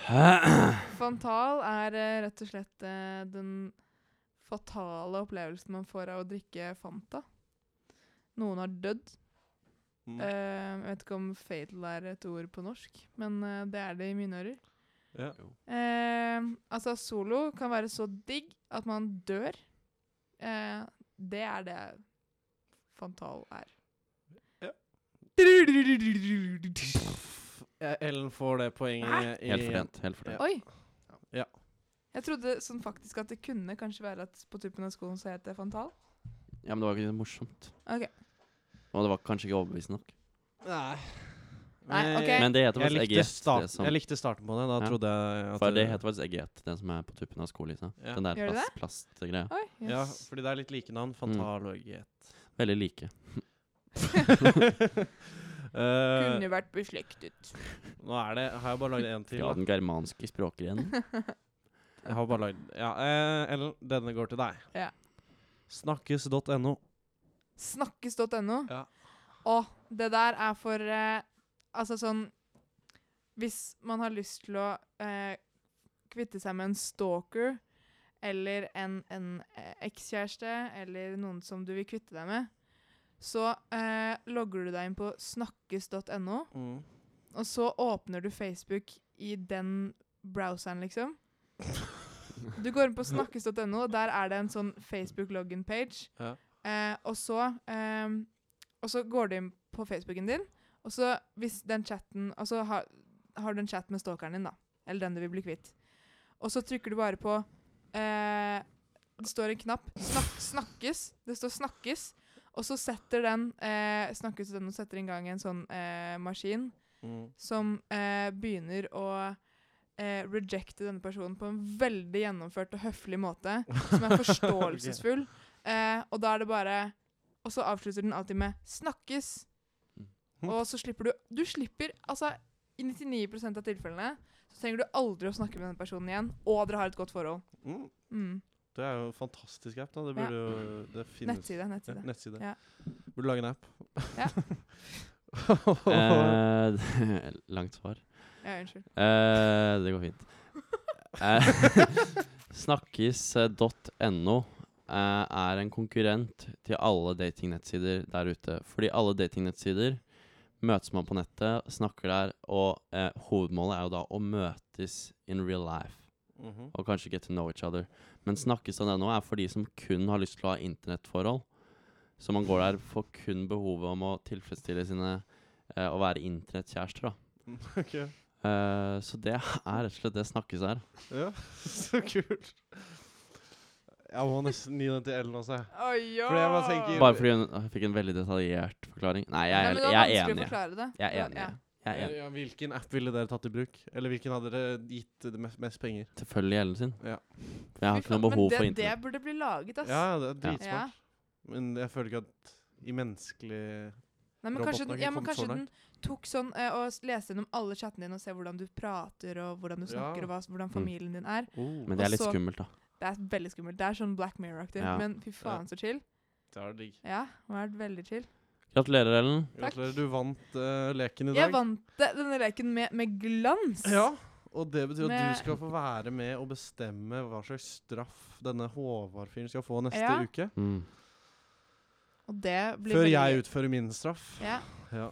S3: Fantal er eh, rett og slett eh, den fatale opplevelsen man får av å drikke Fanta. Noen har dødd.
S1: Mm.
S3: Eh, jeg vet ikke om fatal er et ord på norsk, men eh, det er det i mine ører.
S1: Ja.
S3: Eh, altså, solo kan være så digg at man dør. Eh, det er det Fantal er.
S1: Ja.
S3: Oi!
S1: Eh, Ellen får det poenget i
S2: Helt fortjent. Helt fortjent.
S1: Ja.
S3: Jeg trodde sånn faktisk at det kunne kanskje være at på tuppen av skolen så het det Fantal.
S2: Ja, men det var ikke morsomt.
S3: Ok.
S2: Og det var kanskje ikke overbevisende nok.
S1: Nei.
S3: Nei, ok.
S2: Men det
S1: Jeg
S2: heter faktisk
S1: likte,
S2: EGS.
S1: start,
S2: det som,
S1: jeg likte starten på det. Da
S2: Ja.
S1: trodde jeg at
S2: for det heter faktisk EGS, den som er på tuppen av skolissa.
S1: Ja.
S2: Den der
S3: Gjør det
S2: plast, plastgreia.
S3: Oi, yes.
S1: Ja, fordi det er litt like
S2: Mm.
S1: navn. Fantal og Get.
S2: Veldig like.
S1: Eh,
S3: Kunne vært beslektet.
S1: nå er det Har jeg bare lagd én til?
S2: Fra
S1: Da?
S2: den germanske språkgrenen.
S1: Jeg har bare lagd Ja, eh, Ellen, denne går til deg.
S3: Ja.
S1: Snakkes.no.
S3: Snakkes.no.
S1: Ja.
S3: Og det der er for eh, Altså sånn Hvis man har lyst til å eh, kvitte seg med en stalker eller en, en eh, ekskjæreste eller noen som du vil kvitte deg med, så eh, logger du deg inn på snakkes.no,
S1: Mm.
S3: og så åpner du Facebook i den browseren, liksom. Du går inn på snakkes.no, og der er det en sånn Facebook-login-page.
S1: Ja.
S3: Eh, og, så, eh, og så går du inn på Facebooken din, og så hvis den chatten Og så har, har du en chat med stalkeren din, da. Eller den du vil bli kvitt. Og så trykker du bare på eh, Det står en knapp. Snak, 'Snakkes'. Det står 'snakkes'. Og så setter den eh, snakkes.no setter i gang en sånn eh, maskin
S1: Mm.
S3: som eh, begynner å eh, rejecte denne personen på en veldig gjennomført og høflig måte, som er forståelsesfull. eh, og da er det bare Og så avslutter den alltid med 'snakkes'.
S1: Mhm.
S3: Og så slipper du Du slipper altså i 99 av tilfellene så trenger du aldri å snakke med denne personen igjen, og dere har et godt forhold.
S1: Mm.
S3: Mm.
S1: Det er jo en fantastisk app. da Det
S3: Ja.
S1: burde jo det finnes.
S3: Nettside,
S1: Ja,
S3: nettside.
S1: nettside.
S3: Ja.
S1: Burde lage en app.
S3: Ja.
S2: Eh, langt svar.
S3: Ja, unnskyld.
S2: Eh, det går fint. Eh, Snakkis.no eh, er en konkurrent til alle datingnettsider der ute. Fordi alle datingnettsider møtes man på nettet, snakker der, og eh, hovedmålet er jo da å møtes in real life.
S1: Mhm.
S2: Og kanskje get to know each other. Men snakkis.no er for de som kun har lyst til å ha internettforhold. Så man går der for kun behovet om å tilfredsstille sine eh, Å være internettkjærester, da.
S1: Ok.
S2: Eh, så det er rett og slett det snakkes her.
S1: Ja, så kult. Jeg må nesten gi den til Ellen også. jeg.
S3: Oi, ja.
S1: Fordi jeg bare tenker-
S2: Bare fordi hun hun fikk en veldig detaljert forklaring. Nei, jeg
S3: Nei,
S2: er,
S3: men det
S2: jeg
S3: var
S2: er
S3: vanskelig å
S2: enig.
S3: forklare det.
S2: Jeg er enig.
S3: Ja.
S2: Jeg er enig.
S1: Ja, hvilken app ville dere tatt i bruk? Eller hvilken hadde dere gitt det mest, mest penger?
S2: Selvfølgelig Ellen sin.
S1: Ja.
S2: For jeg har
S3: Fy
S2: ikke noe
S3: faen, men
S2: behov
S3: det,
S2: for
S3: Det
S2: internett.
S3: burde bli laget, ass.
S1: Ja, det er
S2: Ja.
S1: dritsmart. Men jeg føler ikke at i menneskelig
S3: Nei, men
S1: Roboten
S3: kanskje,
S1: har
S3: den,
S1: ikke
S3: ja, men
S1: kommet så
S3: kanskje den tok sånn eh, og s- leste gjennom alle chattene dine og ser hvordan du prater og hvordan du snakker
S1: Ja. Mm.
S3: og hva, s- hvordan familien din er.
S1: oh,
S2: Men det er litt
S3: Også-
S2: skummelt, da.
S3: Det er veldig skummelt. Det er sånn Black Mirror-aktig.
S2: Ja.
S3: Men fy faen så chill.
S1: Det er digg.
S3: Ja, det har vært veldig chill.
S2: Gratulerer, Ellen.
S3: Takk.
S1: Gratulerer, du vant eh, leken i dag.
S3: Jeg vant det- denne leken med, med glans.
S1: Ja, og det betyr at
S3: Med-
S1: du skal få være med og bestemme hva slags straff denne Håvard-fyren skal få neste
S3: Ja.
S1: uke.
S2: Mm.
S3: Og det blir
S1: Før
S3: veldig...
S1: jeg utfører min straff.
S3: Ja.
S1: Ja.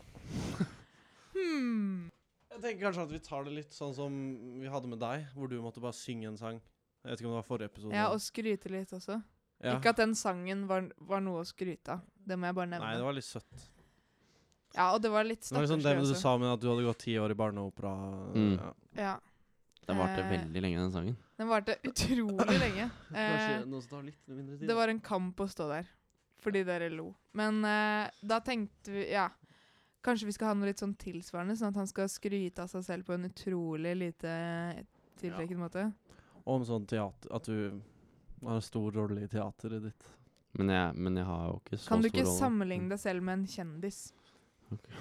S3: Hmm.
S1: Jeg tenker kanskje at vi tar det litt sånn som vi hadde med deg, hvor du måtte bare synge en sang. Jeg vet ikke om det var forrige episode.
S3: ja, og skryte litt også.
S1: Ja.
S3: Ikke at den sangen var, var noe å skryte av. Det må jeg bare nevne.
S1: Nei, det var litt søtt.
S3: Ja, og det var litt
S1: Det var liksom det
S3: stakkarslig
S1: du
S3: også.
S1: sa med at du hadde gått ti år i barneopera.
S2: Mm.
S1: Ja.
S3: Ja.
S2: Den varte
S3: Eh,
S2: veldig lenge, den sangen.
S3: Den varte utrolig lenge. Eh,
S1: noe som tar litt mindre
S3: Det var en kamp å stå der, fordi dere lo. Men eh, da tenkte vi Ja, kanskje vi skal ha noe litt sånn tilsvarende, sånn at han skal skryte av seg selv på en utrolig lite tiltrekkende måte.
S1: Om sånn teater At du har en stor rolle i teateret ditt.
S2: Men jeg, men jeg har jo ikke så stor
S3: Kan du ikke
S2: rolle. Mm.
S3: sammenligne deg selv med en kjendis?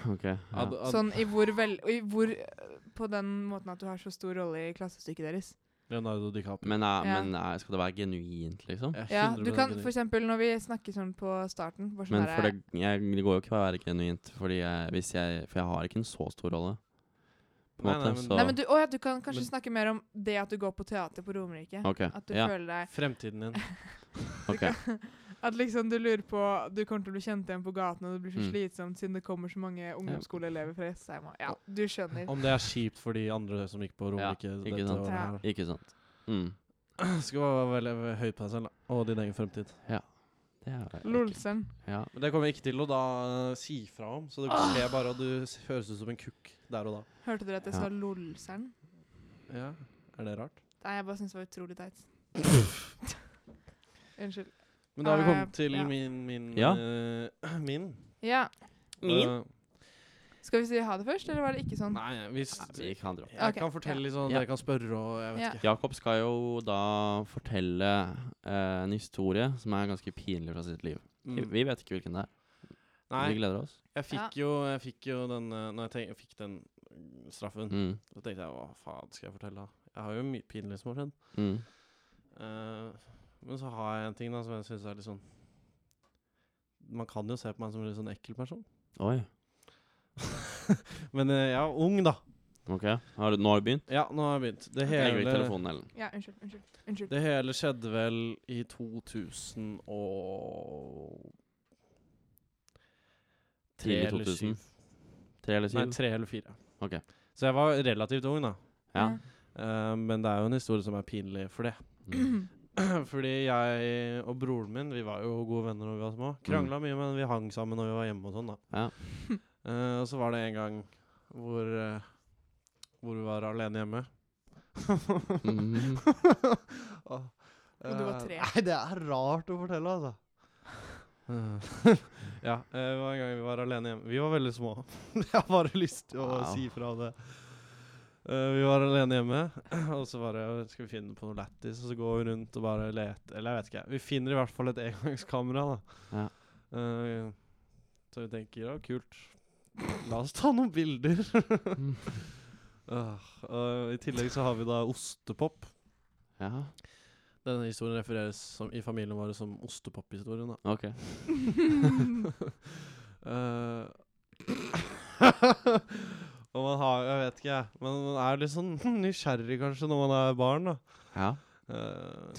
S2: Ok, ja.
S1: Ad, ad,
S3: Sånn i hvor vel og i hvor, eh, På den måten at du har så stor rolle i klassestykket deres.
S1: Leonardo DiCaprio.
S2: Men, eh,
S3: Ja.
S2: men eh, skal det være genuint, liksom?
S1: Jeg
S3: Ja,
S1: skildrer
S3: du
S1: det
S3: kan
S1: genuint.
S3: for eksempel når vi snakker sånn på starten bare sånn
S2: Men for
S3: derre-
S2: det, jeg, det går jo ikke å være genuint, fordi jeg, hvis jeg, for jeg har ikke en så stor rolle. På en
S1: Nei, nei,
S2: måte,
S1: men-
S2: så
S3: Nei, men du, å, ja, du kan kanskje
S1: Men-
S3: snakke mer om det at du går på teater på Romerike.
S2: Ok,
S3: At du
S2: ja,
S3: føler deg
S1: Fremtiden din.
S2: ok.
S3: At liksom du lurer på Du kommer til å bli kjent igjen på gaten, og det blir så
S2: Mm.
S3: slitsomt siden det kommer så mange ungdomsskoleelever fra Jessheim. og- Ja, du skjønner.
S1: Om det er kjipt for de andre som gikk på
S2: Ja,
S1: Romerike.
S2: ikke
S1: dette
S2: sant.
S1: året
S3: Ja.
S1: her.
S2: Ikke sant. Mm.
S1: Skal være veldig høy på deg selv da, og din egen fremtid.
S2: Det er jeg ikke.
S3: Lolsen.
S2: Ja.
S1: Men det kommer jeg ikke til å da eh, si fra om, så det skjer bare at du s- høres ut som en kukk der og da.
S3: Hørte dere at jeg
S2: Ja.
S3: sa lolsen?
S1: Ja, Er det rart?
S3: Det Nei, jeg bare syns det var utrolig teit. Unnskyld.
S1: Men da har vi
S3: Eh,
S1: kommet til
S3: ja.
S1: min Min.
S2: Ja.
S1: eh, min.
S3: Ja.
S2: Min?
S1: Eh,
S3: Skal vi si ha det først, eller var det ikke sånn?
S1: nei, hvis
S2: Nei, vi kan dra.
S1: Jeg
S3: Ok,
S1: kan fortelle
S3: ja.
S1: litt sånn,
S2: Ja.
S1: dere kan spørre og jeg vet
S3: Ja.
S1: ikke.
S2: Jakob skal jo da fortelle eh, en historie som er ganske pinlig fra sitt liv. Vi,
S1: Mm.
S2: vi vet ikke hvilken det er.
S1: Nei,
S2: Vi gleder oss.
S1: jeg fikk, jo, jeg fikk jo den eh, Når jeg, tenk, jeg fikk den mm, straffen,
S2: Mm.
S1: så tenkte jeg hva faen skal jeg fortelle da? Jeg har jo mye pinlig som har skjedd.
S2: Mm.
S1: Eh, men så har jeg en ting da som jeg syns er litt sånn Man kan jo se på meg som en litt sånn ekkel person.
S2: Oi.
S1: Men eh, jeg er ung, da.
S2: Ok. Har du, nå har du begynt?
S1: Ja, nå har jeg begynt. Det
S2: Legger vekk
S1: hele,
S2: telefonen, Ellen.
S3: Ja, unnskyld. Unnskyld. unnskyld.
S1: det hele skjedde vel i 2000 og Tre
S2: Tidlig
S1: eller
S2: 2000.
S1: syv.
S2: Tre eller
S1: Nei,
S2: syv?
S1: tre eller fire.
S2: Ok.
S1: Så jeg var relativt ung, da.
S2: Ja.
S1: Eh, men det er jo en historie som er pinlig for det.
S2: Mm.
S1: Fordi jeg og broren min Vi var jo gode venner da vi var små. Krangla mye, men vi hang sammen når vi var hjemme og sånn, da.
S2: Ja.
S1: Eh, og så var det en gang hvor eh, Hvor vi var alene hjemme.
S2: Mm.
S1: og,
S3: Og du var tre.
S1: eh, Nei, det er rart å fortelle, altså. Eh, ja, eh, det var en gang vi var alene hjemme. Vi var veldig små. Jeg har bare lyst til å
S2: Wow.
S1: si fra det. Eh, vi var alene hjemme, og så bare skal vi finne på noe lættis. Og så går vi rundt og bare leter. Eller jeg vet ikke. Vi finner i hvert fall et engangskamera, da.
S2: Ja.
S1: Eh, så vi tenker ja, kult. La oss ta noen bilder. Ah, og I tillegg så har vi da ostepop.
S2: ja.
S1: Denne historien refereres som, i familien vår som ostepop-historien. da.
S2: Ok.
S1: Eh, og man har Jeg vet ikke, jeg. Men man er litt sånn nysgjerrig kanskje når man er barn. da.
S2: Ja.
S1: Eh,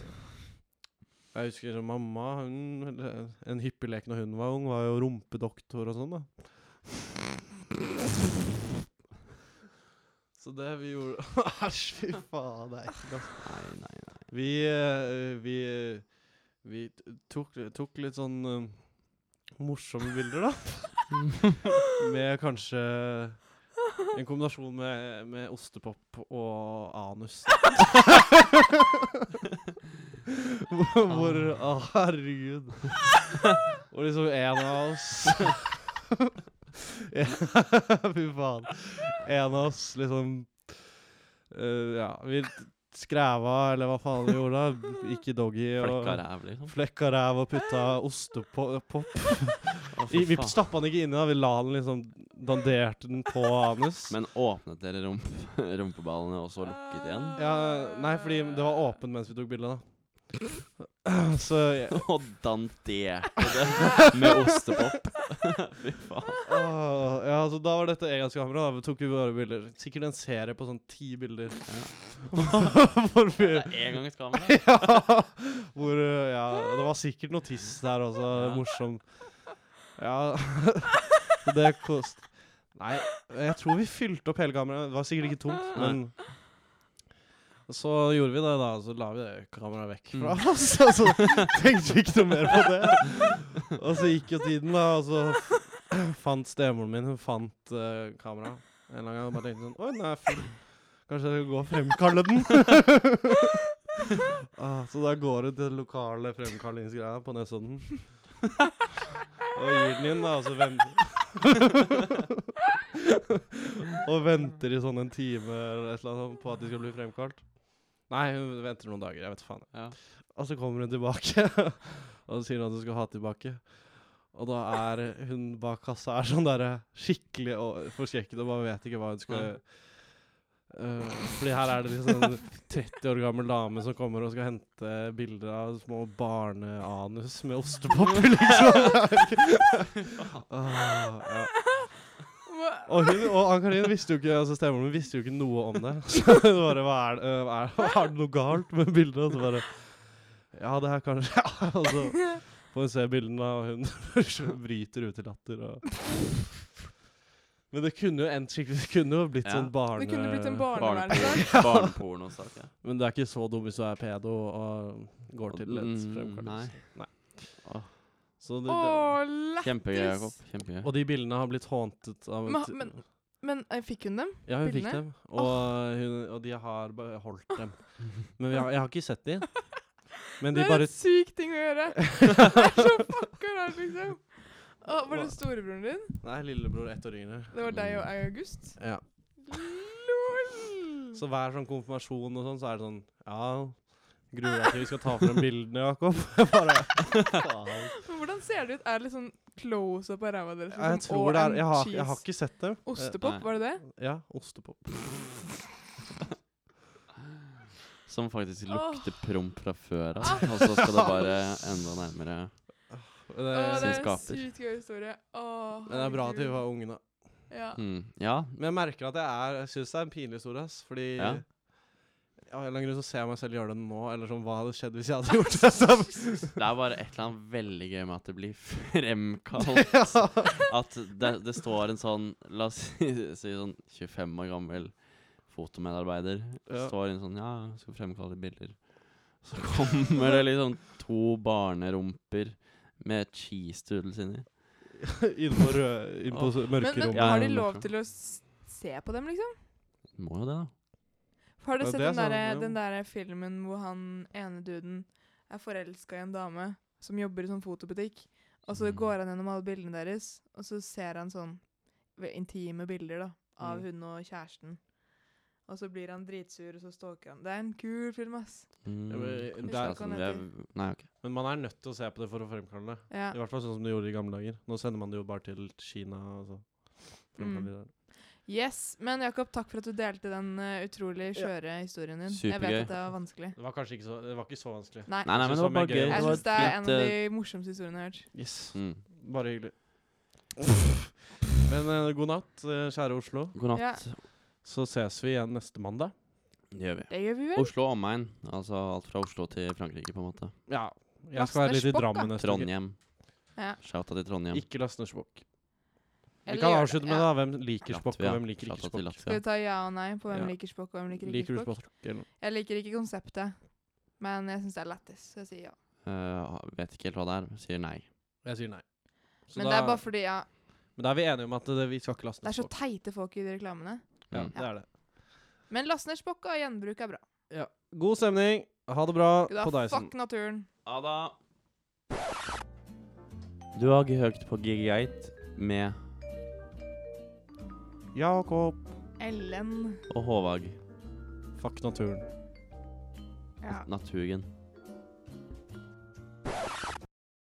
S1: jeg husker så mamma hun, En hyppig lek når hun var ung, var jo rumpedoktor og sånn, da. Så det vi gjorde Æsj, fy faen. Det er ekkelt, ass.
S2: Nei, nei, nei.
S1: Vi, eh, vi, eh, vi t- tok, tok litt sånn eh, morsomme bilder, da. med kanskje en kombinasjon med, med ostepop og anus. hvor hvor Å, herregud. Og liksom en av oss Ja, Fy faen. En av oss liksom eh, Ja, vi skræva, eller hva faen vi gjorde da. Gikk i doggy og
S2: Flekka ræv, liksom.
S1: flekka ræv og putta ostepop
S2: Å, fy
S1: I, Vi
S2: faen.
S1: stappa den ikke inni, da. Vi la den liksom Danderte den på anus.
S2: Men åpnet dere rump rumpeballene og så lukket igjen?
S1: ja, nei, fordi det var åpen mens vi tok bildet, da. Så jeg,
S2: Og danderte det med ostepop? Fy faen.
S1: Åh, ja, så da var dette engangskamera. Da vi tok vi bare bilder. Sikkert en serie på sånn ti bilder. Hvor vi
S2: Det er engangskamera.
S1: ja, hvor, uh, ja, det var sikkert noe tiss der også.
S2: Ja.
S1: Morsom. Ja, så det kost... Nei, jeg tror vi fylte opp hele kameraet. Det var sikkert ikke tomt, men så gjorde vi det, da. Så la vi det kameraet vekk fra oss. Og så tenkte vi ikke noe mer på det. Og så gikk jo tiden, da. Og så f- fant stemoren min Hun fant uh, kameraet en eller annen gang. Og bare tenkte sånn Oi, den er full. Kanskje jeg skal gå og fremkalle den? Ah, så da går du til den lokale fremkallingsgreia på Nesodden. og gir den inn, da, altså, og så venter Og venter i sånn en time eller et eller annet sånt på at de skal bli fremkalt. Nei, hun venter noen dager. Jeg vet faen.
S2: Ja.
S1: Og så kommer hun tilbake, og sier at hun skal ha tilbake. Og da er hun bak kassa er sånn derre skikkelig og- forskrekket og bare vet ikke hva hun skal
S2: Nei.
S1: Eh, fordi her er det liksom en 30 år gammel dame som kommer og skal hente bilder av små barneanus med ostepop, liksom. Ah, ja.
S3: Hva-
S1: Og hun og Ann-Karin visste jo ikke altså stemoren min visste jo ikke noe om det. Så det bare, hva er, det- hva er, hva er det noe galt med bildet? Og så bare Ja, det her kanskje ja. Og så får hun se bildene, og hun bryter ut i latter. Og Men det kunne jo endt skikkelig. Det kunne jo blitt
S2: Ja.
S1: sånn barne...
S3: Det kunne blitt en barnevernssak.
S2: Barneporno- Barnepornosak. ja.
S1: Men det er ikke så dum hvis du er pedo og går til et
S2: Mm, Nei.
S1: fremkallelse. Nei.
S2: Åh.
S1: Så det,
S3: Å, lættis!
S2: Kjempegøy, Jakob. Kjempegøy.
S1: det, og de bildene har blitt hauntet av
S3: Men ha- men- Men eh, fikk hun dem?
S1: Ja, hun fikk
S3: Bildene?
S1: dem, og, eh, hun, og de har beholdt dem. Men vi har, jeg har ikke sett de. Men
S3: det
S1: de
S3: er
S1: bare
S3: en syk ting å gjøre! det er så fucka rart, liksom. Å, var det storebroren din?
S1: Nei, lillebror ett år yngre.
S3: Det var deg og August?
S1: Ja.
S3: LOL!
S1: Så hver sånn konfirmasjon og sånn, så er det sånn Ja, gruer deg til vi skal ta frem bildene, Jakob? Jeg bare faen.
S3: Men hvordan ser det ut? Er det litt sånn close up av ræva deres?
S1: Jeg
S3: liksom, og
S1: tror det er
S3: en
S1: Jeg har, jeg
S3: cheese?
S1: har ikke sett dem.
S3: Ostepop,
S2: Nei.
S3: var det det?
S1: Ja, ostepop.
S2: Som faktisk
S3: Åh.
S2: lukter promp fra før av. Og så skal det bare enda nærmere.
S1: Men
S3: Å,
S1: det,
S3: det er en
S2: Selskaper.
S3: sykt gøy historie. Å,
S1: men det er bra at vi
S3: herregud.
S1: var unge, da.
S3: ja.
S2: Mm. Ja.
S1: Men jeg merker at jeg er Jeg syns det er en pinlig historie, ass. Fordi
S2: Ja.
S1: Av en eller annen grunn så ser jeg meg selv gjøre det nå, eller sånn Hva hadde skjedd hvis jeg hadde gjort det? samme?
S2: Det er bare et eller annet veldig gøy med at det blir fremkalt. At det, det står en sånn, la oss si, si sånn 25 år gammel fotomedarbeider.
S1: Ja.
S2: Står en sånn Ja, skal fremkalle bilder. Så kommer det liksom to barnerumper med cheese doodles inni.
S1: inn på, rød, inn på
S2: Åh.
S1: s-
S3: Men,
S1: mørke
S3: men
S1: rom.
S2: Ja,
S3: har de
S2: ja,
S3: lov
S2: mørkerom.
S3: til å s- se på dem, liksom?
S2: Må jo det, da.
S3: Har
S1: Ja,
S3: dere sett
S1: det er
S3: den der,
S1: sant, ja.
S3: den der filmen hvor han ene duden er forelska i en dame som jobber i sånn fotobutikk, og så
S2: Mm.
S3: går han gjennom alle bildene deres, og så ser han sånn ve- intime bilder da, av
S1: Mm.
S3: hun og kjæresten. Og så blir han dritsur, og så stalker han. Det er en kul film, ass.
S1: Ja,
S2: Mm,
S1: men
S2: kanskje
S1: der-
S2: det er sånn, vi er, nei, ok.
S1: Men man er nødt til å se på det for å fremkalle det.
S3: Ja.
S1: I hvert fall sånn som de gjorde i gamle dager. Nå sender man det jo bare til Kina. og så fremkaller
S3: Mm.
S1: de det.
S3: Yes. Men Jakob, takk for at du delte den eh, utrolig skjøre historien din. Jeg vet
S2: Supergøy.
S3: at det var vanskelig.
S1: Det var kanskje ikke så, det var ikke så vanskelig.
S3: Nei.
S2: Nei, nei, men det var bare gøy.
S3: Jeg
S2: var
S3: syns det er
S2: et
S3: en
S2: fint,
S3: av
S2: eh,
S3: de morsomste historiene jeg har hørt.
S1: Yes.
S2: mm.
S1: Bare hyggelig. Men eh, god natt, eh, kjære Oslo.
S2: God natt.
S3: Ja.
S1: Så ses vi igjen neste mandag.
S2: Det gjør vi.
S3: Det gjør vi vel?
S2: Oslo og omegn. Altså alt fra Oslo til Frankrike, på en måte.
S1: Ja. Jeg
S3: Laste
S1: skal være litt i
S3: spokk, da.
S1: Drammen neste uke.
S2: Trondheim.
S3: Ja.
S2: Shouta til Trondheim.
S1: Ikke Lasner Spokk. Vi
S3: Eller
S1: kan
S3: gjør
S1: avslutte med
S3: ja.
S1: det, da. Hvem liker Spokk, og
S2: Latvia.
S1: hvem liker ikke
S2: Shouta til
S1: Spokk?
S2: Latvia.
S3: Skal vi ta ja og nei på hvem
S1: Ja.
S3: liker spokk og hvem liker ikke
S1: Liker du
S3: spokk?
S1: Spokk? Eller? noe?
S3: Jeg liker ikke konseptet, men jeg syns det er lættis, så jeg sier ja.
S2: Eh, vet ikke helt hva det er. Sier nei.
S1: Jeg sier nei. Så
S3: Men
S1: da,
S3: det er bare fordi ja,
S1: men da er vi enige om at det, vi skal ikke laste
S3: det
S1: ned
S3: er så
S1: Spokk.
S3: teite folk i de reklamene.
S1: Ja,
S2: Mm.
S1: det er det.
S3: Men last ned spokk og gjenbruk er bra.
S1: God stemning. Ha det bra
S3: Da,
S1: på Dyson.
S3: fuck naturen.
S2: Ha det. Du har ikke hørt på Gigate med
S1: Jakob.
S3: Ellen.
S2: og Håvag.
S1: Fuck naturen.
S3: Ja.
S2: Naturgen.